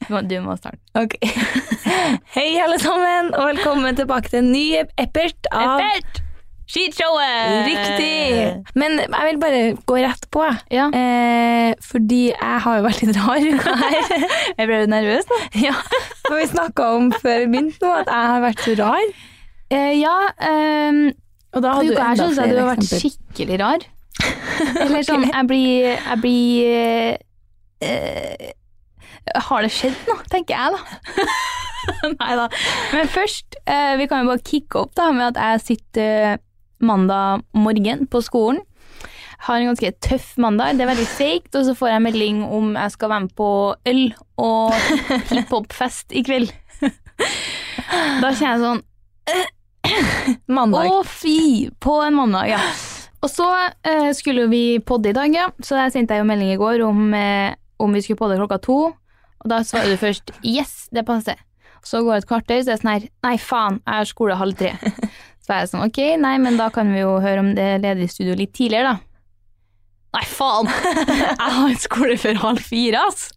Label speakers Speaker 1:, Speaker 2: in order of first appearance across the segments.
Speaker 1: Du må- Du må starte.
Speaker 2: Ok. Hei, alle sammen, og velkommen tilbake til en ny epert av
Speaker 1: Eppert! Skishowet!
Speaker 2: Riktig! Men jeg vil bare gå rett på, jeg.
Speaker 1: Ja.
Speaker 2: Eh, fordi jeg har jo vært litt rar uka her.
Speaker 1: Jeg ble nervøs, da.
Speaker 2: ja, for vi snakka om før vi begynte nå, at jeg har vært så rar.
Speaker 1: Eh, ja, ehm,
Speaker 2: Og da
Speaker 1: uka her syns jeg du har vært
Speaker 2: eksempler.
Speaker 1: skikkelig rar. Eller sånn, jeg blir, jeg blir eh, eh, Har det skjedd nå, tenker jeg, da. Nei da. Men først, eh, vi kan jo bare kicke opp da med at jeg sitter eh, mandag morgen på skolen. Har en ganske tøff mandag. Det er veldig seigt. Og så får jeg melding om jeg skal være med på øl og hiphopfest i kveld. Da kjenner jeg sånn
Speaker 2: Mandag.
Speaker 1: å, fy! På en mandag, ja. Og så eh, skulle jo vi podde i dag, ja. Så der sendte jeg jo melding i går om, eh, om vi skulle podde klokka to. Og da svarer du først 'yes, det passer'. Så går det et kvarter, så er det sånn her 'nei, faen, jeg har skole halv tre'. Så er jeg sånn 'ok, nei, men da kan vi jo høre om det er ledig studio litt tidligere', da. Nei, faen! Jeg har skole før halv fire, ass!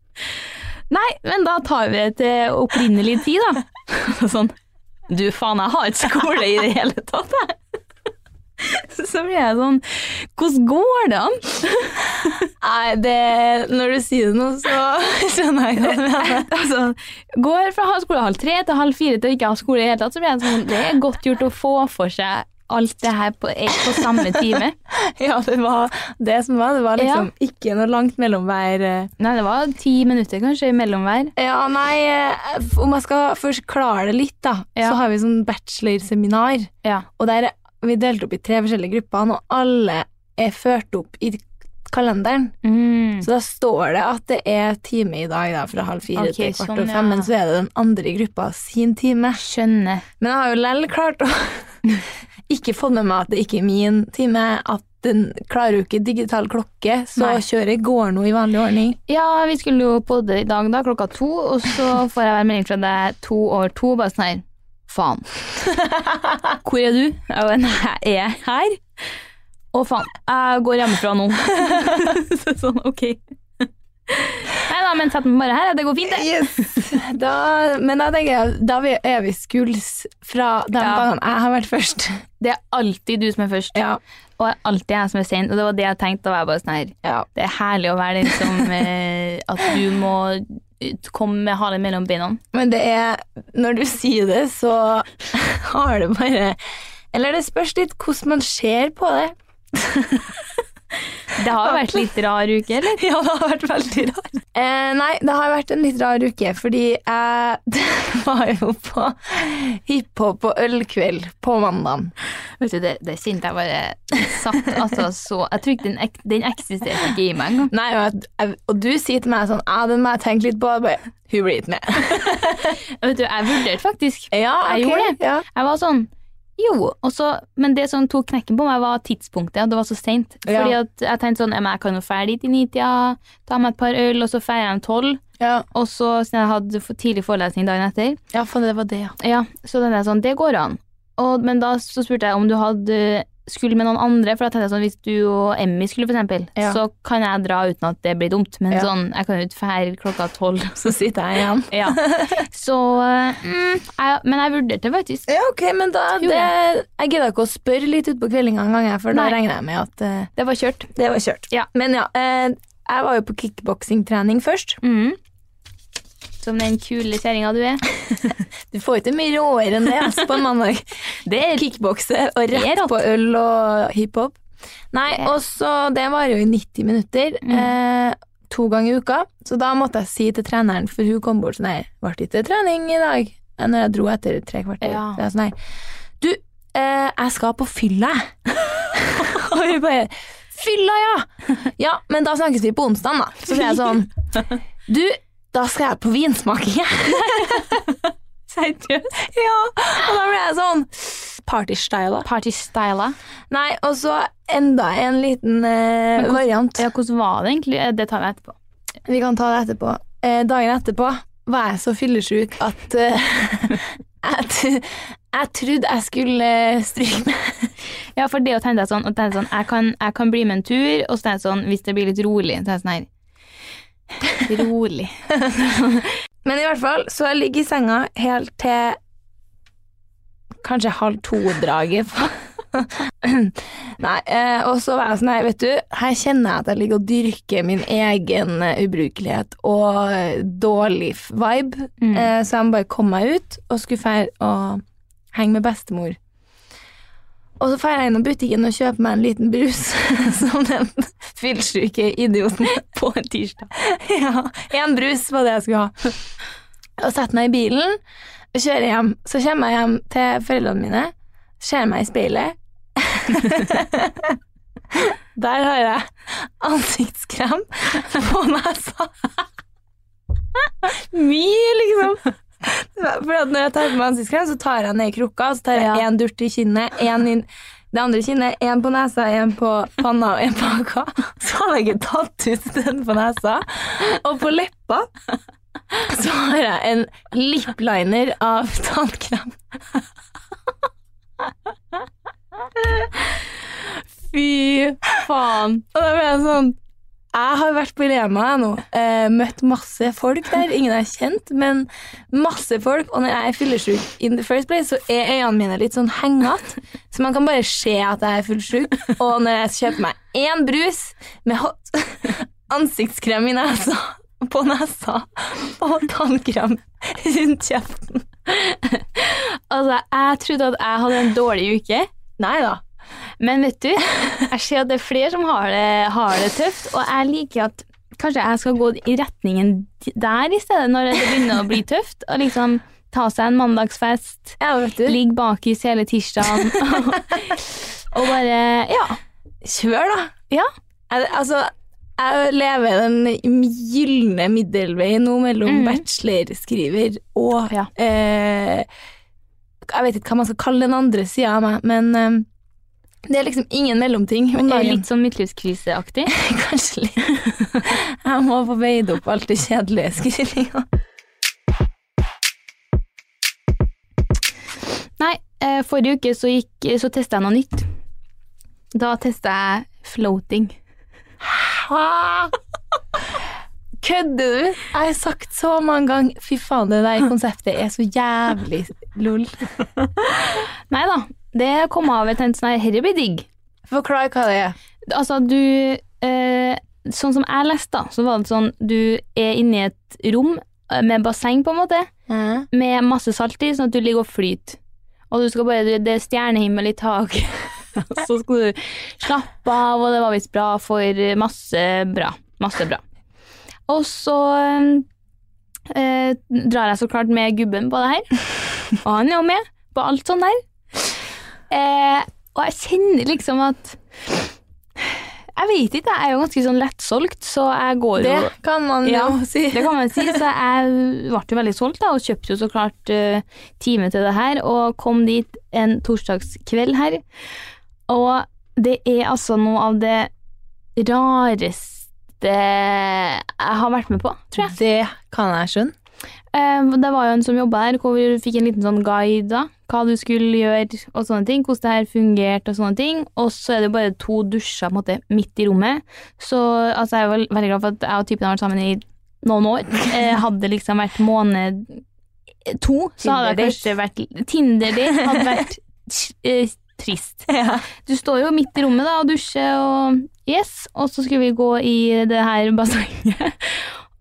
Speaker 1: Nei, men da tar vi det til opprinnelig tid, da. Sånn du faen, jeg har ikke skole i det hele tatt, jeg. Så blir jeg sånn Hvordan går det an? Nei, det Når du sier det nå, så skjønner jeg hva du mener. Altså, går fra å ha skole halv tre til halv fire til å ikke ha skole i det hele tatt, så blir jeg sånn Det er godt gjort å få for seg alt det her på, på samme time.
Speaker 2: Ja, det var det som var. Det var liksom ikke noe langt mellom hver eh,
Speaker 1: Nei, det var ti minutter kanskje imellom hver.
Speaker 2: Ja, nei, eh, om jeg skal først klare det litt, da,
Speaker 1: Ja.
Speaker 2: så har vi sånn bachelorseminar.
Speaker 1: Ja.
Speaker 2: Og der er- vi delt opp i tre forskjellige grupper, og alle er ført opp i kalenderen.
Speaker 1: Mm.
Speaker 2: Så da står det at det er time i dag, da, fra halv fire
Speaker 1: Ok,
Speaker 2: til kvart
Speaker 1: sånn,
Speaker 2: over
Speaker 1: ja.
Speaker 2: fem, men så er det den andre gruppa sin time.
Speaker 1: Skjønner.
Speaker 2: Men jeg har jo lell klart å ikke fått med meg at det ikke er min time, at den klarer jo ikke digital klokke, så
Speaker 1: Nei.
Speaker 2: kjøret går nå i vanlig ordning.
Speaker 1: Ja, vi skulle jo podde i dag da, klokka to, og så får jeg en melding fra deg to over to, bare sånn her, faen. Hvor er du? Jeg bare, nei, jeg er her. Å faen, jeg går hjemmefra nå. så sånn, ok. Nei da, men sett meg bare her, det går fint det.
Speaker 2: Da, men da tenker jeg, da vi- er vi skuls fra de
Speaker 1: Ja.
Speaker 2: gangene jeg har vært først.
Speaker 1: Det er alltid du som er først,
Speaker 2: Ja.
Speaker 1: og det er alltid jeg som er sent, og det var det jeg tenkte, da var jeg bare sånn her,
Speaker 2: Ja.
Speaker 1: det er herlig å være den som, eh, at du må eh, komme med halen mellom beina.
Speaker 2: Men det er, når du sier det, så har det bare Eller det spørs litt hvordan man ser på det.
Speaker 1: Det har jo vært litt rar uke, eller?
Speaker 2: Ja, det har vært veldig rart. Eh, nei, det har vært en litt rar uke, fordi jeg var jo på hiphop og ølkveld på mandag.
Speaker 1: Vet du, det, det kjente jeg bare satt altså så Jeg tror ikke den, ek, den eksisterte ikke i meg engang.
Speaker 2: Nei, og, jeg- jeg, og du sier til meg sånn Ja, den må jeg tenke litt på. Jeg bare, Hun blir ikke med.
Speaker 1: Vet du, jeg vurderte faktisk.
Speaker 2: Ja,
Speaker 1: Jeg
Speaker 2: ok,
Speaker 1: gjorde det.
Speaker 2: Ja.
Speaker 1: Jeg var sånn Jo, og så, men det som tok knekken på meg, var tidspunktet. at Det var så seint.
Speaker 2: Ja.
Speaker 1: Fordi at jeg tenkte sånn, "Ja, men jeg kan jo dra dit i nitida, ta meg et par øl, og så feirer jeg om tolv.
Speaker 2: Ja,
Speaker 1: Og så, siden jeg hadde for tidlig forelesning dagen etter,
Speaker 2: ja for det var det, ja.
Speaker 1: ja, så tenkte jeg sånn, det går an. Og, men da så spurte jeg om du hadde eh, skulle med noen andre, for da tenkte jeg sånn, hvis du og Emmy skulle for eksempel,
Speaker 2: Ja.
Speaker 1: så kan jeg dra uten at det blir dumt. Men
Speaker 2: Ja.
Speaker 1: sånn, jeg kan jo ikke feire klokka tolv.
Speaker 2: Så sitter jeg igjen.
Speaker 1: ja. Så, mm, jeg, men jeg vurderte faktisk.
Speaker 2: Ja, ok, men da
Speaker 1: Jo,
Speaker 2: det, Jeg gidder ikke å spørre litt utpå kveldinga en gang, jeg, for da
Speaker 1: Nei.
Speaker 2: regner jeg med at eh,
Speaker 1: Det var kjørt.
Speaker 2: det var kjørt.
Speaker 1: Ja.
Speaker 2: Men ja, eh, jeg var jo på kickboksingtrening først.
Speaker 1: Mm. Som den kule kjerringa du er.
Speaker 2: Du får ikke mye råere enn det altså, på en mandag. det er Kickbokse og
Speaker 1: Det er
Speaker 2: rett
Speaker 1: rått.
Speaker 2: på øl og hiphop. Nei,
Speaker 1: Det er- Mm.
Speaker 2: og så Det varer jo i 90 minutter. Eh, to ganger i uka. Så da måtte jeg si til treneren, for hun kom bort sånn Nei, ble det ikke trening i dag? Eh, Når jeg dro etter tre kvarter.
Speaker 1: Ja.
Speaker 2: Så jeg sånn her Du, eh, jeg skal på fylla, jeg. og hun bare Fylla, ja! Ja, men da snakkes vi på onsdag, da. Så sier jeg sånn Du, da skal jeg på vinsmaking, jeg.
Speaker 1: Seriøst?
Speaker 2: Ja, og da ble jeg sånn partystyle.
Speaker 1: Partystyla.
Speaker 2: Nei, og så enda en liten eh,
Speaker 1: hvordan-
Speaker 2: variant.
Speaker 1: Ja, hvordan var det egentlig? Eh, Det tar vi etterpå.
Speaker 2: Vi kan ta det etterpå. Eh, dagen etterpå var jeg så fyllesyk at eh, jeg, tr- jeg trodde jeg skulle eh, stryke meg.
Speaker 1: Ja, for det å tenke sånn, og tenke sånn jeg, kan, jeg kan bli med en tur, og så tenker jeg sånn, hvis det blir litt rolig, så er jeg sånn her Rolig.
Speaker 2: Men i hvert fall, så jeg ligger i senga helt til kanskje halv to-draget. Nei, eh, og så var jeg sånn her, vet du, her kjenner jeg at jeg ligger og dyrker min egen eh, ubrukelighet og eh, dårlig f- vibe,
Speaker 1: Mm.
Speaker 2: eh, så jeg må bare komme meg ut og skulle feire og henge med bestemor. Og så feirer jeg innom butikken og kjøper meg en liten brus, som den fyllsyke idioten på en tirsdag. Ja, én brus var det jeg skulle ha. Og setter meg i bilen, kjører hjem. Så kommer jeg hjem til foreldrene mine, ser meg i speilet. Der har jeg ansiktskrem på nesa. Mye, liksom. For at når jeg tar på meg ansiktskrem, så tar jeg ned i krukka, så tar jeg
Speaker 1: Ja.
Speaker 2: én durt i kinnet, én i det andre kinnet, én på nesa, én på panna og én på haka. Så har jeg ikke tatt ut den på nesa. Og på leppa så har jeg en lipliner av tannkrem.
Speaker 1: Fy faen.
Speaker 2: Og da ble jeg sånn Jeg har vært på Rema jeg, nå. Eh, møtt masse folk der. Ingen jeg har kjent, men masse folk. Og når jeg er fyllesyk in the first place, så er øynene mine litt sånn hengete. Så man kan bare se at jeg er fullsyk. Og når jeg kjøper meg én brus med hot ansiktskrem i nesa, på nesa og tannkrem rundt kjeften
Speaker 1: Altså, jeg trodde at jeg hadde en dårlig uke,
Speaker 2: Nei da.
Speaker 1: men vet du, jeg ser at det er flere som har det, har det tøft, og jeg liker at kanskje jeg skal gå i retningen der i stedet, når det begynner å bli tøft, og liksom ta seg en mandagsfest,
Speaker 2: Ja, vet du.
Speaker 1: ligge bakis hele tirsdagen, og, og bare, ja.
Speaker 2: Kjør, da.
Speaker 1: Ja.
Speaker 2: Jeg, altså, jeg lever den gylne middelveien nå mellom
Speaker 1: Mhm.
Speaker 2: bachelorskriver og
Speaker 1: Ja.
Speaker 2: eh, Jeg vet ikke hva man skal kalle den andre sida av meg, men eh, det er liksom ingen mellomting om
Speaker 1: Det er
Speaker 2: dagen.
Speaker 1: Litt sånn midtlivskriseaktig.
Speaker 2: Kanskje litt. Jeg må få veid opp alt det kjedelige skrivinga.
Speaker 1: Nei, eh, forrige uke så, gikk- så testa jeg noe nytt. Da testa jeg floating.
Speaker 2: Kødder du? Jeg har sagt så mange ganger Fy faen, det der konseptet er så jævlig lol.
Speaker 1: Nei da, det kom av et sånn her Herre blir digg.
Speaker 2: Forklar hva det er.
Speaker 1: Altså, du eh, Sånn som jeg leste, da, så var det sånn du er inni et rom eh, med basseng, på en måte,
Speaker 2: Eh?
Speaker 1: med masse salt i, sånn at du ligger og flyter. Og du skal bare Det er stjernehimmel i taket. så skal du slappe av, og det var visst bra for masse bra. Masse bra. Og så eh, drar jeg så klart med gubben på det her. Og han er jo med på alt sånn der. Eh, og jeg kjenner liksom at Jeg vet ikke, jeg er jo ganske sånn lettsolgt, så jeg går jo
Speaker 2: Det kan man
Speaker 1: Ja,
Speaker 2: jo si.
Speaker 1: Det kan man si, så jeg ble jo veldig solgt da, og kjøpte jo så klart eh, time til det her, og kom dit en torsdagskveld her. Og det er altså noe av det rareste jeg har vært med på, tror jeg.
Speaker 2: Det kan jeg skjønne.
Speaker 1: Eh, Det var jo en som jobba der, hvor vi fikk en liten sånn guide, da. Hva du skulle gjøre og sånne ting. Hvordan det her fungerte og sånne ting. Og så er det jo bare to dusjer på en måte midt i rommet. Så altså, jeg er vel- veldig glad for at jeg og typen har vært sammen i noen år. Eh, Hadde det liksom vært måned to, så hadde det kanskje vært Tinder-date hadde vært eh, trist. Du står jo midt i rommet da og dusjer og Yes. Og så skulle vi gå i det her bassenget.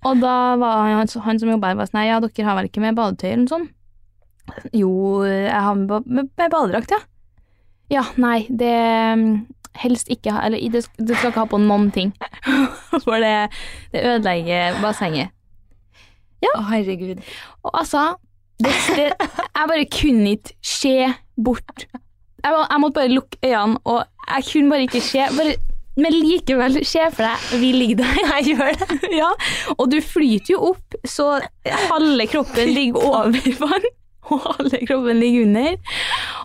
Speaker 1: Og da var han, han som jobba her, bare sånn Nei, ja, dere har vel ikke med badetøy eller noe sånt? Jo, jeg har med, ba- med, med badedrakt, ja. Ja, nei, det mm, helst ikke ha Eller i- det, du skal ikke ha på noen ting. For det, det ødelegger bassenget.
Speaker 2: Å, herregud.
Speaker 1: Og altså det, det, Jeg bare kunne ikke se bort. Jeg, må, jeg måtte bare lukke øynene, og jeg kunne bare ikke se. Bare, men likevel, se for deg, vi ligger der. Jeg gjør det. Ja, og du flyter jo opp, så halve kroppen ligger over vann, og halve kroppen ligger under.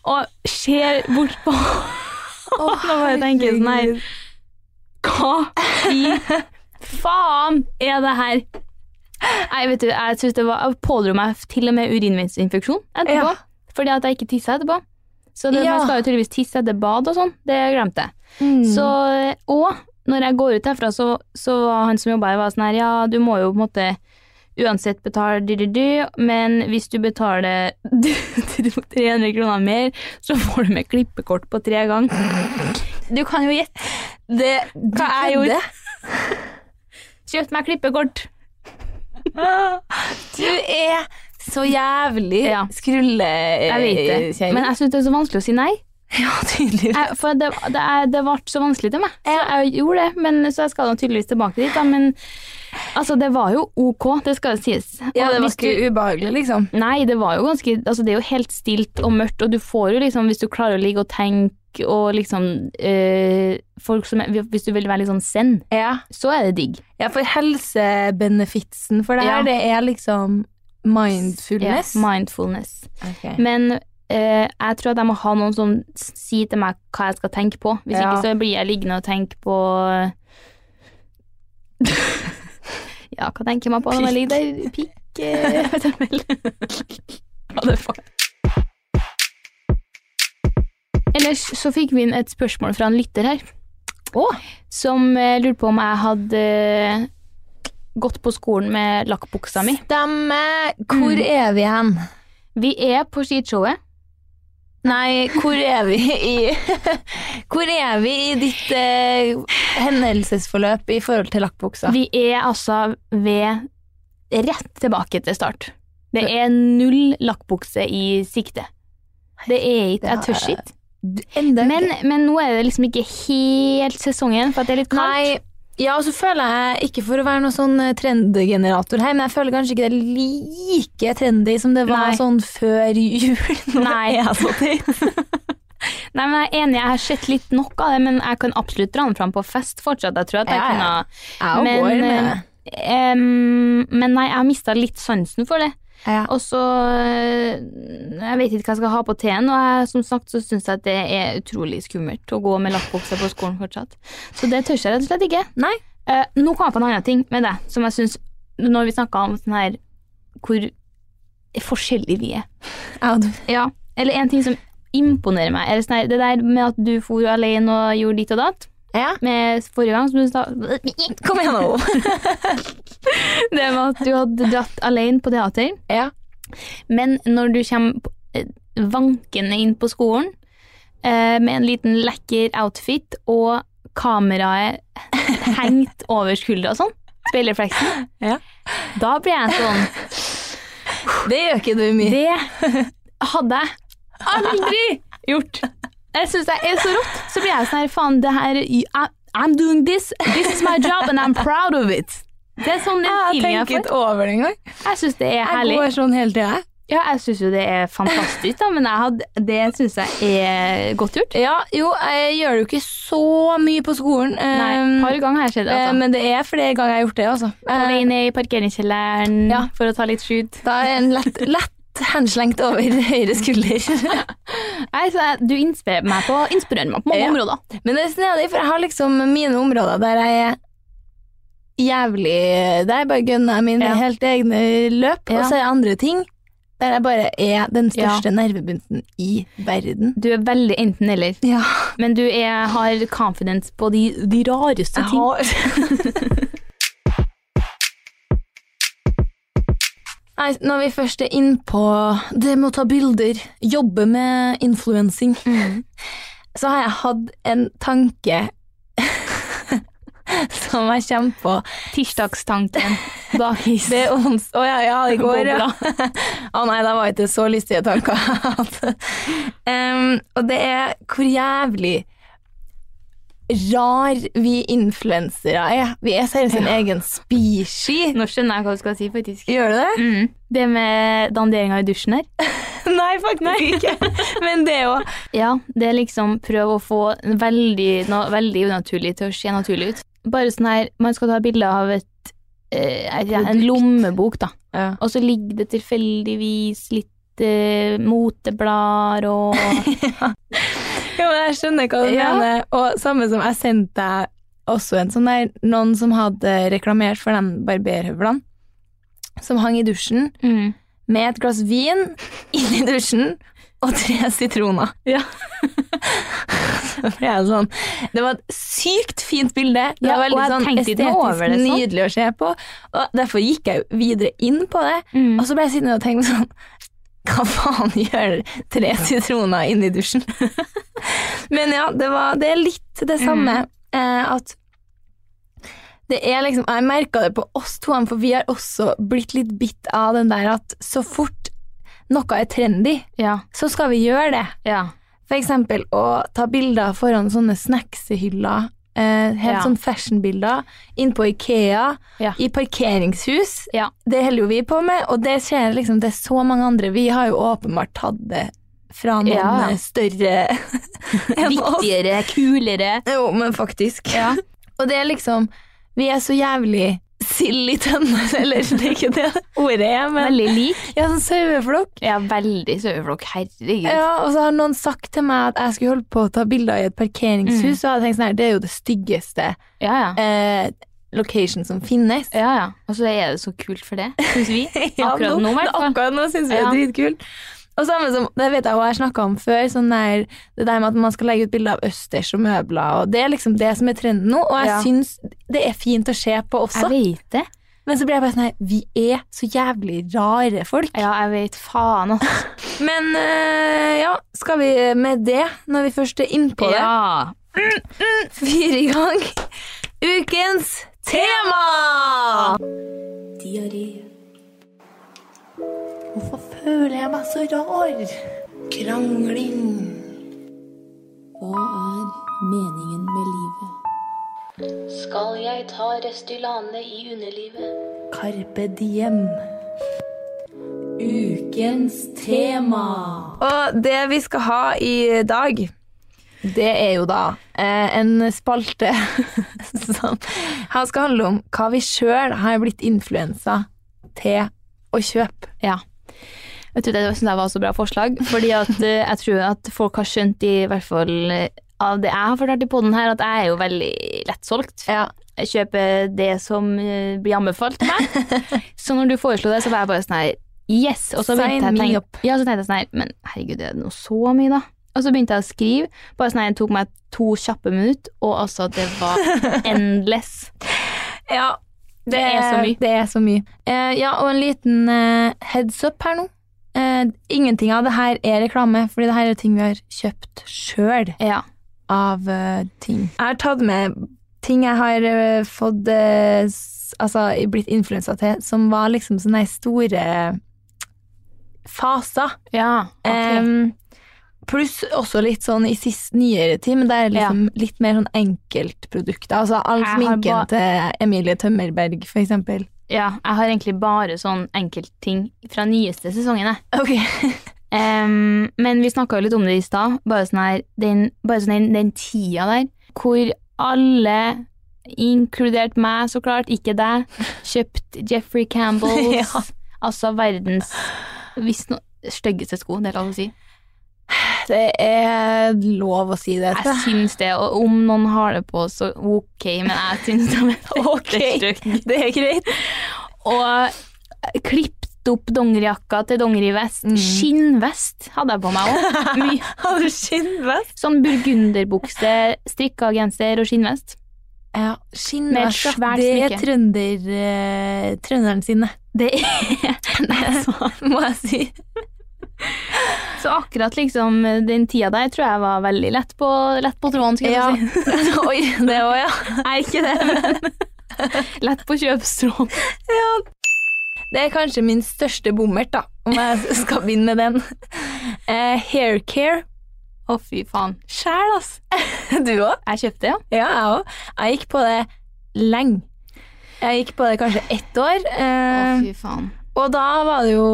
Speaker 1: Og ser bort på Og nå bare tenker jeg sånn her Hva i faen er det her? Nei, vet du, jeg synes det var Jeg pådro meg til og med urinveisinfeksjon etterpå.
Speaker 2: Ja.
Speaker 1: Fordi at jeg ikke tissa etterpå. Så det,
Speaker 2: Ja.
Speaker 1: man skal jo tydeligvis tisse etter bad og sånn. Det glemte jeg. Så, og når jeg går ut herfra, så, så var han som jobba her, var sånn her Ja, du må jo på en måte uansett betale dy-dy-dy, men hvis du betaler 300 kroner mer, så får du med klippekort på tre ganger. Du kan jo gjette.
Speaker 2: Det
Speaker 1: Hva jeg gjorde? Kjøpt meg klippekort.
Speaker 2: Du er så jævlig
Speaker 1: Ja.
Speaker 2: skrulle... eh,
Speaker 1: Jeg vet det. Men jeg syns det er så vanskelig å si nei.
Speaker 2: ja, tydeligvis.
Speaker 1: Jeg, for det, det, er, det ble så vanskelig til meg. Så jeg gjorde det, men, så jeg skal nå tydeligvis tilbake dit. Da, men altså, det var jo ok, det skal sies. Og
Speaker 2: Ja, det var
Speaker 1: hvis du-
Speaker 2: ikke ubehagelig, liksom.
Speaker 1: Nei, det var jo ganske Altså, det er jo helt stilt og mørkt, og du får jo liksom Hvis du klarer å ligge og tenke og liksom eh, Folk som er, Hvis du vil være litt sånn zen,
Speaker 2: Ja.
Speaker 1: så er det digg.
Speaker 2: Ja, for helsebenefitsen for det her,
Speaker 1: Ja.
Speaker 2: det er liksom mindfulness.
Speaker 1: Ja, mindfulness.
Speaker 2: Ok.
Speaker 1: Men eh, jeg tror at jeg må ha noen som s- sier til meg hva jeg skal tenke på. Hvis
Speaker 2: Ja.
Speaker 1: ikke så blir jeg liggende og tenke på Ja, hva tenker man på når man ligger der? Pikk? eh, vet jeg vel. Hva det var. Ellers så fikk vi inn et spørsmål fra en lytter her. Som eh, lurte på om jeg hadde eh, gått på skolen med lakkbuksa mi.
Speaker 2: Stemmer! Hvor
Speaker 1: Mm.
Speaker 2: er vi hen?
Speaker 1: Vi er på skishowet.
Speaker 2: Nei, hvor er vi i Hvor er vi i ditt eh, hendelsesforløp i forhold til lakkbuksa?
Speaker 1: Vi er altså ved rett tilbake til start. Det er null lakkbukse i sikte. Det er ikke Jeg tør ikke.
Speaker 2: Enda ikke.
Speaker 1: Men, men nå er det liksom ikke helt sesongen, for at det er litt kaldt.
Speaker 2: Nei, ja, og så føler jeg, ikke for å være noen sånn eh, trendgenerator her, men jeg føler kanskje ikke det er like trendy som det var
Speaker 1: Nei.
Speaker 2: sånn før jul. Nå
Speaker 1: Nei.
Speaker 2: er jeg så teit.
Speaker 1: Nei, men Jeg er enig, jeg har sett litt nok av det, men jeg kan absolutt dra den fram på fest fortsatt. Jeg tror at jeg
Speaker 2: Ja, ja. Jeg
Speaker 1: kunne
Speaker 2: og går med det.
Speaker 1: eh, em, Men nei, jeg har mista litt sansen for det.
Speaker 2: Ja.
Speaker 1: Og så øh, Jeg vet ikke hva jeg skal ha på teen, og jeg, som sagt så syns jeg at det er utrolig skummelt å gå med lakkbukse på skolen fortsatt. Så det tør jeg rett og slett ikke.
Speaker 2: Nei.
Speaker 1: Eh, nå kom jeg på en annen ting med deg, som jeg syns Når vi snakka om sånn her hvor forskjellige vi er.
Speaker 2: Ja, du.
Speaker 1: Ja, eller en ting som imponerer meg, er det, sånn her, det der med at du for alene og gjorde ditt og datt
Speaker 2: Ja.
Speaker 1: med forrige gang, som du sa
Speaker 2: Kom igjen nå.
Speaker 1: Det med at du hadde dratt alene på teater.
Speaker 2: Ja.
Speaker 1: Men når du kommer på- eh, vankende inn på skolen eh, med en liten lekker outfit og kameraet hengt over skuldra og sånn, speilrefleksen,
Speaker 2: Ja.
Speaker 1: da blir jeg sånn
Speaker 2: Det gjør ikke du mye.
Speaker 1: Det hadde jeg aldri gjort. Jeg syns det er så rått. Så blir jeg sånn her, faen, det her I- I'm doing this, this is my job, and I'm proud of it. Det er sånn den
Speaker 2: Jeg har
Speaker 1: feelingen jeg
Speaker 2: tenkt
Speaker 1: får.
Speaker 2: over det en gang.
Speaker 1: Jeg syns det er
Speaker 2: Jeg
Speaker 1: herlig.
Speaker 2: går sånn hele tida.
Speaker 1: Ja, jeg syns jo det er fantastisk, da, men jeg hadde, det syns jeg er godt gjort.
Speaker 2: Ja, jo, jeg gjør det jo ikke så mye på skolen.
Speaker 1: Nei, et par ganger har jeg sett det.
Speaker 2: eh,
Speaker 1: Altså.
Speaker 2: men det er flere ganger jeg har gjort det, altså.
Speaker 1: På
Speaker 2: Eh,
Speaker 1: vei ned i parkeringskjelleren
Speaker 2: Ja.
Speaker 1: for å ta litt skudd.
Speaker 2: Da er en lett, lett henslengt over høyre skulder.
Speaker 1: Nei, så jeg- Du inspirerer meg på, inspirerer meg på mange
Speaker 2: Ja.
Speaker 1: områder.
Speaker 2: Men det er snedig, for jeg har liksom mine områder der jeg er jævlig Der bare gønner jeg mine
Speaker 1: Ja.
Speaker 2: helt egne løp,
Speaker 1: Ja.
Speaker 2: og så er det andre ting der jeg bare er den største nervebunten i verden.
Speaker 1: Du er veldig enten-eller,
Speaker 2: Ja.
Speaker 1: men du er, har confidence på de, de rareste ting.
Speaker 2: Nei, når vi først er innpå det med å ta bilder, jobbe med influensing, så har jeg hatt en tanke som jeg kommer på.
Speaker 1: Tirsdagstanken. Bakis.
Speaker 2: Det er ons... Å ja, ja, i går, ja. Å nei, da var ikke det så lystige tanker jeg hadde. Em, og det er hvor jævlig rar vi influensere er. Vi er seriøst en egen species.
Speaker 1: Nå skjønner jeg hva du skal si, faktisk.
Speaker 2: Gjør du det?
Speaker 1: Mm. Det med danderinga i dusjen her.
Speaker 2: Nei, faktisk ikke. Men det er jo
Speaker 1: Ja, det er liksom prøv å få en veldig, noe veldig unaturlig til å se naturlig ut. Bare sånn her, man skal ta bilde av et, eh, jeg vet ikke, en lommebok, da.
Speaker 2: Ja.
Speaker 1: Og så ligger det tilfeldigvis litt eh, moteblader og
Speaker 2: men Jeg skjønner hva du
Speaker 1: Ja.
Speaker 2: mener. Og samme som jeg sendte deg også en sånn der Noen som hadde reklamert for de barberhøvlene som hang i dusjen
Speaker 1: mm.
Speaker 2: med et glass vin inni dusjen og tre sitroner.
Speaker 1: Ja.
Speaker 2: Da ble jeg sånn, det var et sykt fint bilde. Det
Speaker 1: Ja,
Speaker 2: var veldig
Speaker 1: og jeg
Speaker 2: sånn
Speaker 1: tenkte ikke noe over
Speaker 2: estetisk
Speaker 1: det, sånn.
Speaker 2: nydelig å se på. Og derfor gikk jeg jo videre inn på det,
Speaker 1: Mm.
Speaker 2: og så ble jeg sittende og tenke sånn Hva faen gjør tre sitroner inni dusjen? Men ja, det, var, det er litt det samme
Speaker 1: Mm.
Speaker 2: eh, at det er liksom, Jeg merka det på oss to, for vi har også blitt litt bitt av den der at så fort noe er trendy,
Speaker 1: Ja.
Speaker 2: så skal vi gjøre det.
Speaker 1: ja.
Speaker 2: For eksempel å ta bilder foran sånne snacksehyller, eh, helt
Speaker 1: Ja.
Speaker 2: sånn fashionbilder, inn på Ikea,
Speaker 1: Ja.
Speaker 2: i parkeringshus.
Speaker 1: Ja.
Speaker 2: Det holder jo vi på med, og det skjer liksom til så mange andre. Vi har jo åpenbart tatt det fra noen
Speaker 1: Ja.
Speaker 2: eh, større enn oss.
Speaker 1: Viktigere, kulere.
Speaker 2: Jo, men faktisk. Og det er liksom Vi er så jævlig sild i tønne, eller det er ikke det ordet er, men
Speaker 1: Veldig lik.
Speaker 2: Ja, sånn saueflokk.
Speaker 1: Ja, veldig saueflokk. Herregud.
Speaker 2: Ja, og så har noen sagt til meg at jeg skulle holde på å ta bilder i et parkeringshus,
Speaker 1: Mm.
Speaker 2: og jeg hadde tenkt sånn her, det er jo det styggeste
Speaker 1: Ja, ja.
Speaker 2: eh, location som finnes.
Speaker 1: Ja, ja. Og så er det så kult for det, syns vi.
Speaker 2: Ja,
Speaker 1: Akkurat nå, i hvert fall.
Speaker 2: Akkurat nå syns vi det er
Speaker 1: Ja.
Speaker 2: dritkult. Og samme som, det vet jeg også jeg snakka om før, sånn der, det der med at man skal legge ut bilder av østers og møbler, og det er liksom det som er trenden nå, og jeg
Speaker 1: Ja.
Speaker 2: syns det er fint å se på også.
Speaker 1: Jeg vet det.
Speaker 2: Men så blir jeg bare sånn her, vi er så jævlig rare folk.
Speaker 1: Ja, jeg vet faen, altså.
Speaker 2: Men eh, ja, skal vi med det, når vi først er innpå det?
Speaker 1: Ja.
Speaker 2: fyre i gang ukens tema! Diaré. Hvorfor føler jeg meg så rar? Krangling.
Speaker 3: Hva er meningen med livet? Skal jeg ta Restylane i underlivet?
Speaker 2: Carpe diem.
Speaker 3: Ukens tema!
Speaker 2: Og det vi skal ha i dag, det er jo da eh, en spalte som her skal handle om hva vi sjøl har blitt influensa til å kjøpe.
Speaker 1: ja. Vet du, Det syns jeg var så bra forslag, fordi at eh, jeg tror at folk har skjønt, i hvert fall eh, av det jeg har fortalt i poden her, at jeg er jo veldig lettsolgt.
Speaker 2: Ja.
Speaker 1: Jeg kjøper det som eh, blir anbefalt til meg. så når du foreslo det, så var jeg bare sånn her Yes! Og så
Speaker 2: Sign
Speaker 1: begynte jeg å
Speaker 2: me
Speaker 1: tenke-
Speaker 2: up.
Speaker 1: ja, så tenkte jeg sånn her Men herregud, er det nå så mye, da? Og så begynte jeg å skrive. Bare sånn her, Det tok meg to kjappe minutter, og altså, det var endless.
Speaker 2: Ja, det,
Speaker 1: er så mye.
Speaker 2: Det er så mye. Eh, ja, og en liten eh, heads up her nå. Eh, ingenting av det her er reklame, fordi det her er ting vi har kjøpt sjøl
Speaker 1: Ja.
Speaker 2: av eh, ting. Jeg har tatt med ting jeg har eh, fått eh, s- Altså blitt influensa til, som var liksom sånne her store faser.
Speaker 1: Ja, ok.
Speaker 2: Em, Pluss også litt sånn i sist nyere tid, men det er liksom litt mer sånn enkeltprodukter. Altså all
Speaker 1: Jeg har
Speaker 2: sminken
Speaker 1: ba-
Speaker 2: til Emilie Tømmerberg, for eksempel.
Speaker 1: Ja, jeg har egentlig bare sånn enkeltting fra nyeste sesongen, jeg.
Speaker 2: Ok.
Speaker 1: Em, men vi snakka jo litt om det i stad. Bare sånn her den, bare sånn den, den tida der hvor alle, inkludert meg så klart, ikke deg, kjøpt Jeffrey Campbells
Speaker 2: Ja.
Speaker 1: Altså verdens hvis no, styggeste sko, det er lov å si.
Speaker 2: Det er lov å si det.
Speaker 1: Jeg syns det, og om noen har det på, så ok, men jeg syns de er fettestykke.
Speaker 2: det er greit.
Speaker 1: Og klippet opp dongerijakka til dongerivest.
Speaker 2: Mm.
Speaker 1: Skinnvest hadde jeg på meg òg. Mye
Speaker 2: Har du skinnvest?
Speaker 1: Sånn burgunderbukse, strikka genser og skinnvest.
Speaker 2: Ja,
Speaker 1: Med et
Speaker 2: skinnvest. ja.
Speaker 1: svært
Speaker 2: Det er
Speaker 1: smykke.
Speaker 2: trønder, eh, trønderen sine,
Speaker 1: Det er sånn.
Speaker 2: må jeg si.
Speaker 1: Så akkurat liksom den tida der tror jeg var veldig lett på, lett på tråden, skulle
Speaker 2: Ja.
Speaker 1: jeg si.
Speaker 2: Oi, det òg, ja.
Speaker 1: Nei, ikke det, men lett på kjøpstråden.
Speaker 2: Det er kanskje min største bommert, da, om jeg skal begynne med den. Eh, Haircare.
Speaker 1: Å, fy faen.
Speaker 2: Sjæl, ass. Du òg?
Speaker 1: Jeg kjøpte, ja.
Speaker 2: Ja, jeg òg. Jeg gikk på det lenge. Jeg gikk på det kanskje ett år.
Speaker 1: Å,
Speaker 2: Eh,
Speaker 1: fy faen.
Speaker 2: Og da var det jo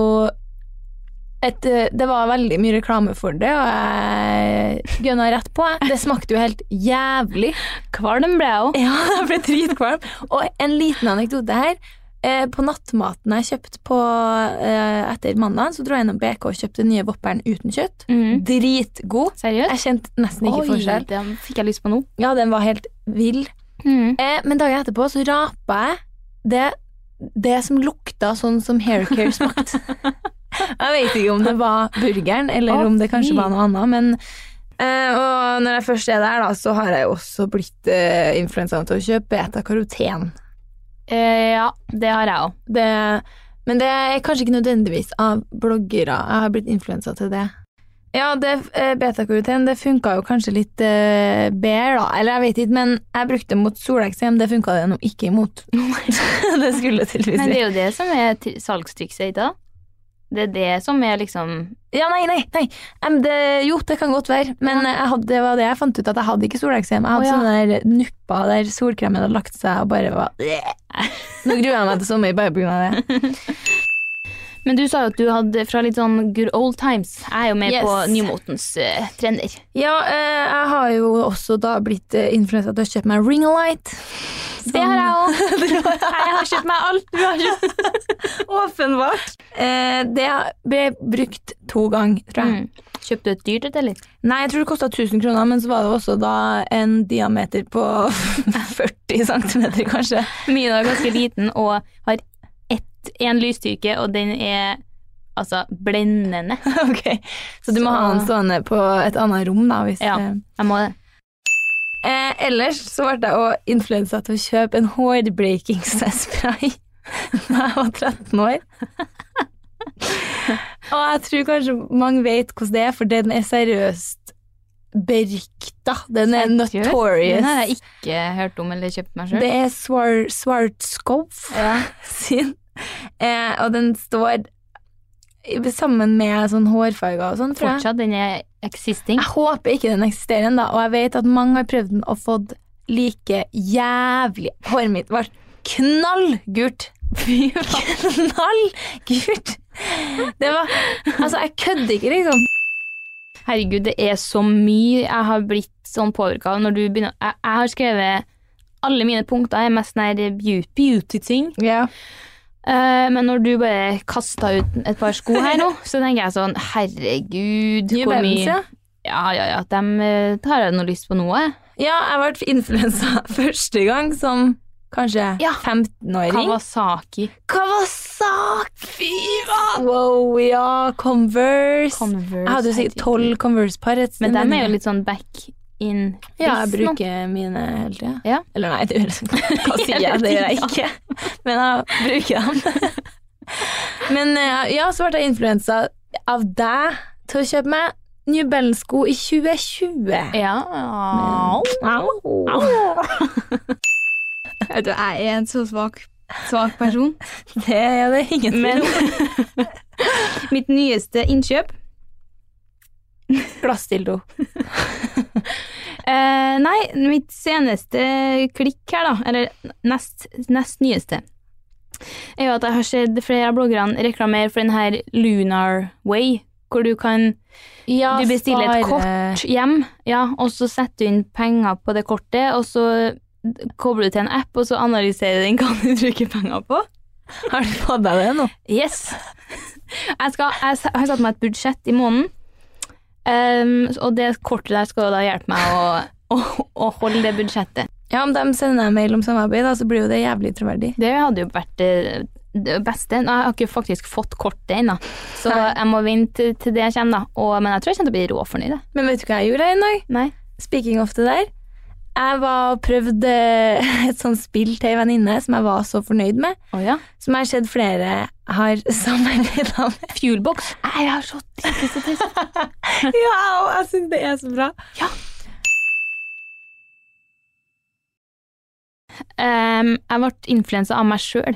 Speaker 2: et, eh, Det var veldig mye reklame for det, og jeg gønna rett på. jeg. Det smakte jo helt jævlig.
Speaker 1: Kvalm ble jeg òg.
Speaker 2: Ja, jeg ble dritkvalm. Og en liten anekdote her. Eh, På nattmaten jeg kjøpte på eh, etter mandag, så dro jeg innom BK og kjøpte den nye Vopperen uten kjøtt.
Speaker 1: Mhm.
Speaker 2: Dritgod.
Speaker 1: Seriøst?
Speaker 2: Jeg kjente nesten ikke forskjell.
Speaker 1: den fikk jeg lyst på nå. Mm.
Speaker 2: Ja, den var helt vill. Eh, Men dagen etterpå så rapa jeg det, det som lukta sånn som haircare smakte. jeg vet ikke om det var burgeren, eller
Speaker 1: Å,
Speaker 2: om det kanskje
Speaker 1: fy.
Speaker 2: var noe annet, men eh, Og når jeg først er der, da, så har jeg jo også blitt eh, influensa til å kjøpe beta-karoten.
Speaker 1: Eh, ja, det har jeg òg.
Speaker 2: Det, men det er kanskje ikke nødvendigvis av bloggere. Jeg har blitt influensa til det. Ja, det eh, beta-karoten det funka jo kanskje litt eh, bedre, da. Eller jeg vet ikke, men jeg brukte det mot soleksem. Det funka det nå ikke imot. det skulle tydeligvis
Speaker 1: Men det
Speaker 2: si.
Speaker 1: er jo det som er tri- salgstrikset i dag. Det er det som er liksom
Speaker 2: Ja, nei, nei. nei. Em, det, jo, det kan godt være, men eh, jeg hadde, det var det jeg fant ut, at jeg hadde ikke soleksem. Jeg
Speaker 1: Å,
Speaker 2: hadde
Speaker 1: ja.
Speaker 2: sånne der nupper der solkremen hadde lagt seg og bare var Nå gruer jeg meg til sommer bare pga. det.
Speaker 1: Men du sa jo at du hadde fra litt sånn good old times. Jeg er jo med
Speaker 2: Yes.
Speaker 1: på nymotens eh, trender.
Speaker 2: Ja, eh, jeg har jo også da blitt eh, influensa til å kjøpe meg ring light.
Speaker 1: Sånn. Det har jeg òg. Jeg har kjøpt meg alt. Du har kjøpt
Speaker 2: Åpenbart. Eh, det ble brukt to ganger, tror
Speaker 1: Mm.
Speaker 2: jeg.
Speaker 1: Kjøpte du et dyrt et, eller?
Speaker 2: Nei, jeg tror det kosta 1000 kroner, men så var det også da en diameter på 40 cm, kanskje.
Speaker 1: Min er ganske liten og har ett, en lysstyrke, og den er altså blendende.
Speaker 2: ok, Så du må
Speaker 1: Så-
Speaker 2: ha den stående på et annet rom, da. Hvis
Speaker 1: Ja.
Speaker 2: eh,
Speaker 1: Jeg må det.
Speaker 2: Eh, ellers så ble jeg også influensa til å kjøpe en hårbreakingsspray da jeg var 13 år. Og jeg tror kanskje mange vet hvordan det er, for den er seriøst berykta. Den er
Speaker 1: Seriøst? Den har jeg
Speaker 2: notorious.
Speaker 1: ikke hørt om eller kjøpt meg sjøl.
Speaker 2: Det er Swar Swartskov
Speaker 1: Ja.
Speaker 2: sin, eh, og den står i- sammen med sånn hårfarger og sånn, tror jeg.
Speaker 1: Fortsatt, den er existing.
Speaker 2: Jeg håper ikke den eksisterer ennå, og jeg vet at mange har prøvd den og fått like jævlig Håret mitt var knallgult. Knallgult! Det var Altså, jeg kødder ikke, liksom.
Speaker 1: Herregud, det er så mye jeg har blitt sånn påvirka av når du begynner Jeg, jeg har skrevet alle mine punkter er mest sånn her beau- beauty-ting.
Speaker 2: Ja.
Speaker 1: Eh, men når du bare kasta ut et par sko her nå, så tenker jeg sånn Herregud,
Speaker 2: New Balance, ja.
Speaker 1: Ja, ja, ja. Dem eh, tar jeg noe lyst på noe.
Speaker 2: Ja, jeg ble influensa første gang som kanskje
Speaker 1: Ja.
Speaker 2: 15-åring.
Speaker 1: Kawasaki.
Speaker 2: Kawasaki! Fy faen! Wow, ja. Converse.
Speaker 1: Converse,
Speaker 2: jeg hadde jo sikkert tolv Converse-par. et sted,
Speaker 1: Men dem er jo
Speaker 2: jeg-
Speaker 1: litt sånn back in
Speaker 2: Ja, jeg
Speaker 1: business nå.
Speaker 2: bruker mine hele tida.
Speaker 1: Ja.
Speaker 2: Eller nei, det gjør jeg ikke. Hva sier jeg? Det gjør jeg ikke. Men jeg bruker dem. Men eh, ja, så ble jeg influensa av deg til å kjøpe meg New Balance-sko i 2020.
Speaker 1: Ja.
Speaker 2: Au.
Speaker 4: Vet du, jeg er en så svak, svak person.
Speaker 2: Det er det ingen
Speaker 4: Men
Speaker 2: tvil om.
Speaker 4: mitt nyeste innkjøp
Speaker 2: Glassdildo.
Speaker 4: eh, Nei, mitt seneste klikk her, da. Eller nest, nest nyeste.
Speaker 1: er jo at jeg har sett flere av bloggerne reklamere for den her Lunar Way, hvor du kan
Speaker 2: Ja, eh,
Speaker 1: Du bestiller
Speaker 2: spare-
Speaker 1: et kort hjem, ja, og så setter du inn penger på det kortet, og så kobler du til en app, og så analyserer den hva du bruker penger på.
Speaker 2: Har du fått deg det nå?
Speaker 1: Yes! Jeg, skal, jeg s- har satt meg et budsjett i måneden, Ehm, og det kortet der skal jo da hjelpe meg å, å, å holde det budsjettet.
Speaker 2: Ja, om de sender deg mail om samarbeid, da, så blir jo det jævlig troverdig.
Speaker 1: Det hadde jo vært det det beste. Nå, jeg har ikke faktisk fått kortet ennå, så
Speaker 2: Nei.
Speaker 1: jeg må vente til- til det kommer, da. Og, men jeg tror jeg kommer til å bli råfornøyd. jeg.
Speaker 2: Men vet du hva jeg gjorde her en dag?
Speaker 1: Nei.
Speaker 2: Speaking of det der. Jeg var og prøvde eh, et sånt spill til ei venninne som jeg var så fornøyd med.
Speaker 1: Å ja.
Speaker 2: Som jeg har sett flere har samarbeida med.
Speaker 1: Fuelbox. Jeg har så lyst til å
Speaker 2: Ja, og jeg syns det er så bra.
Speaker 1: Ehm, jeg ble influensa av meg sjøl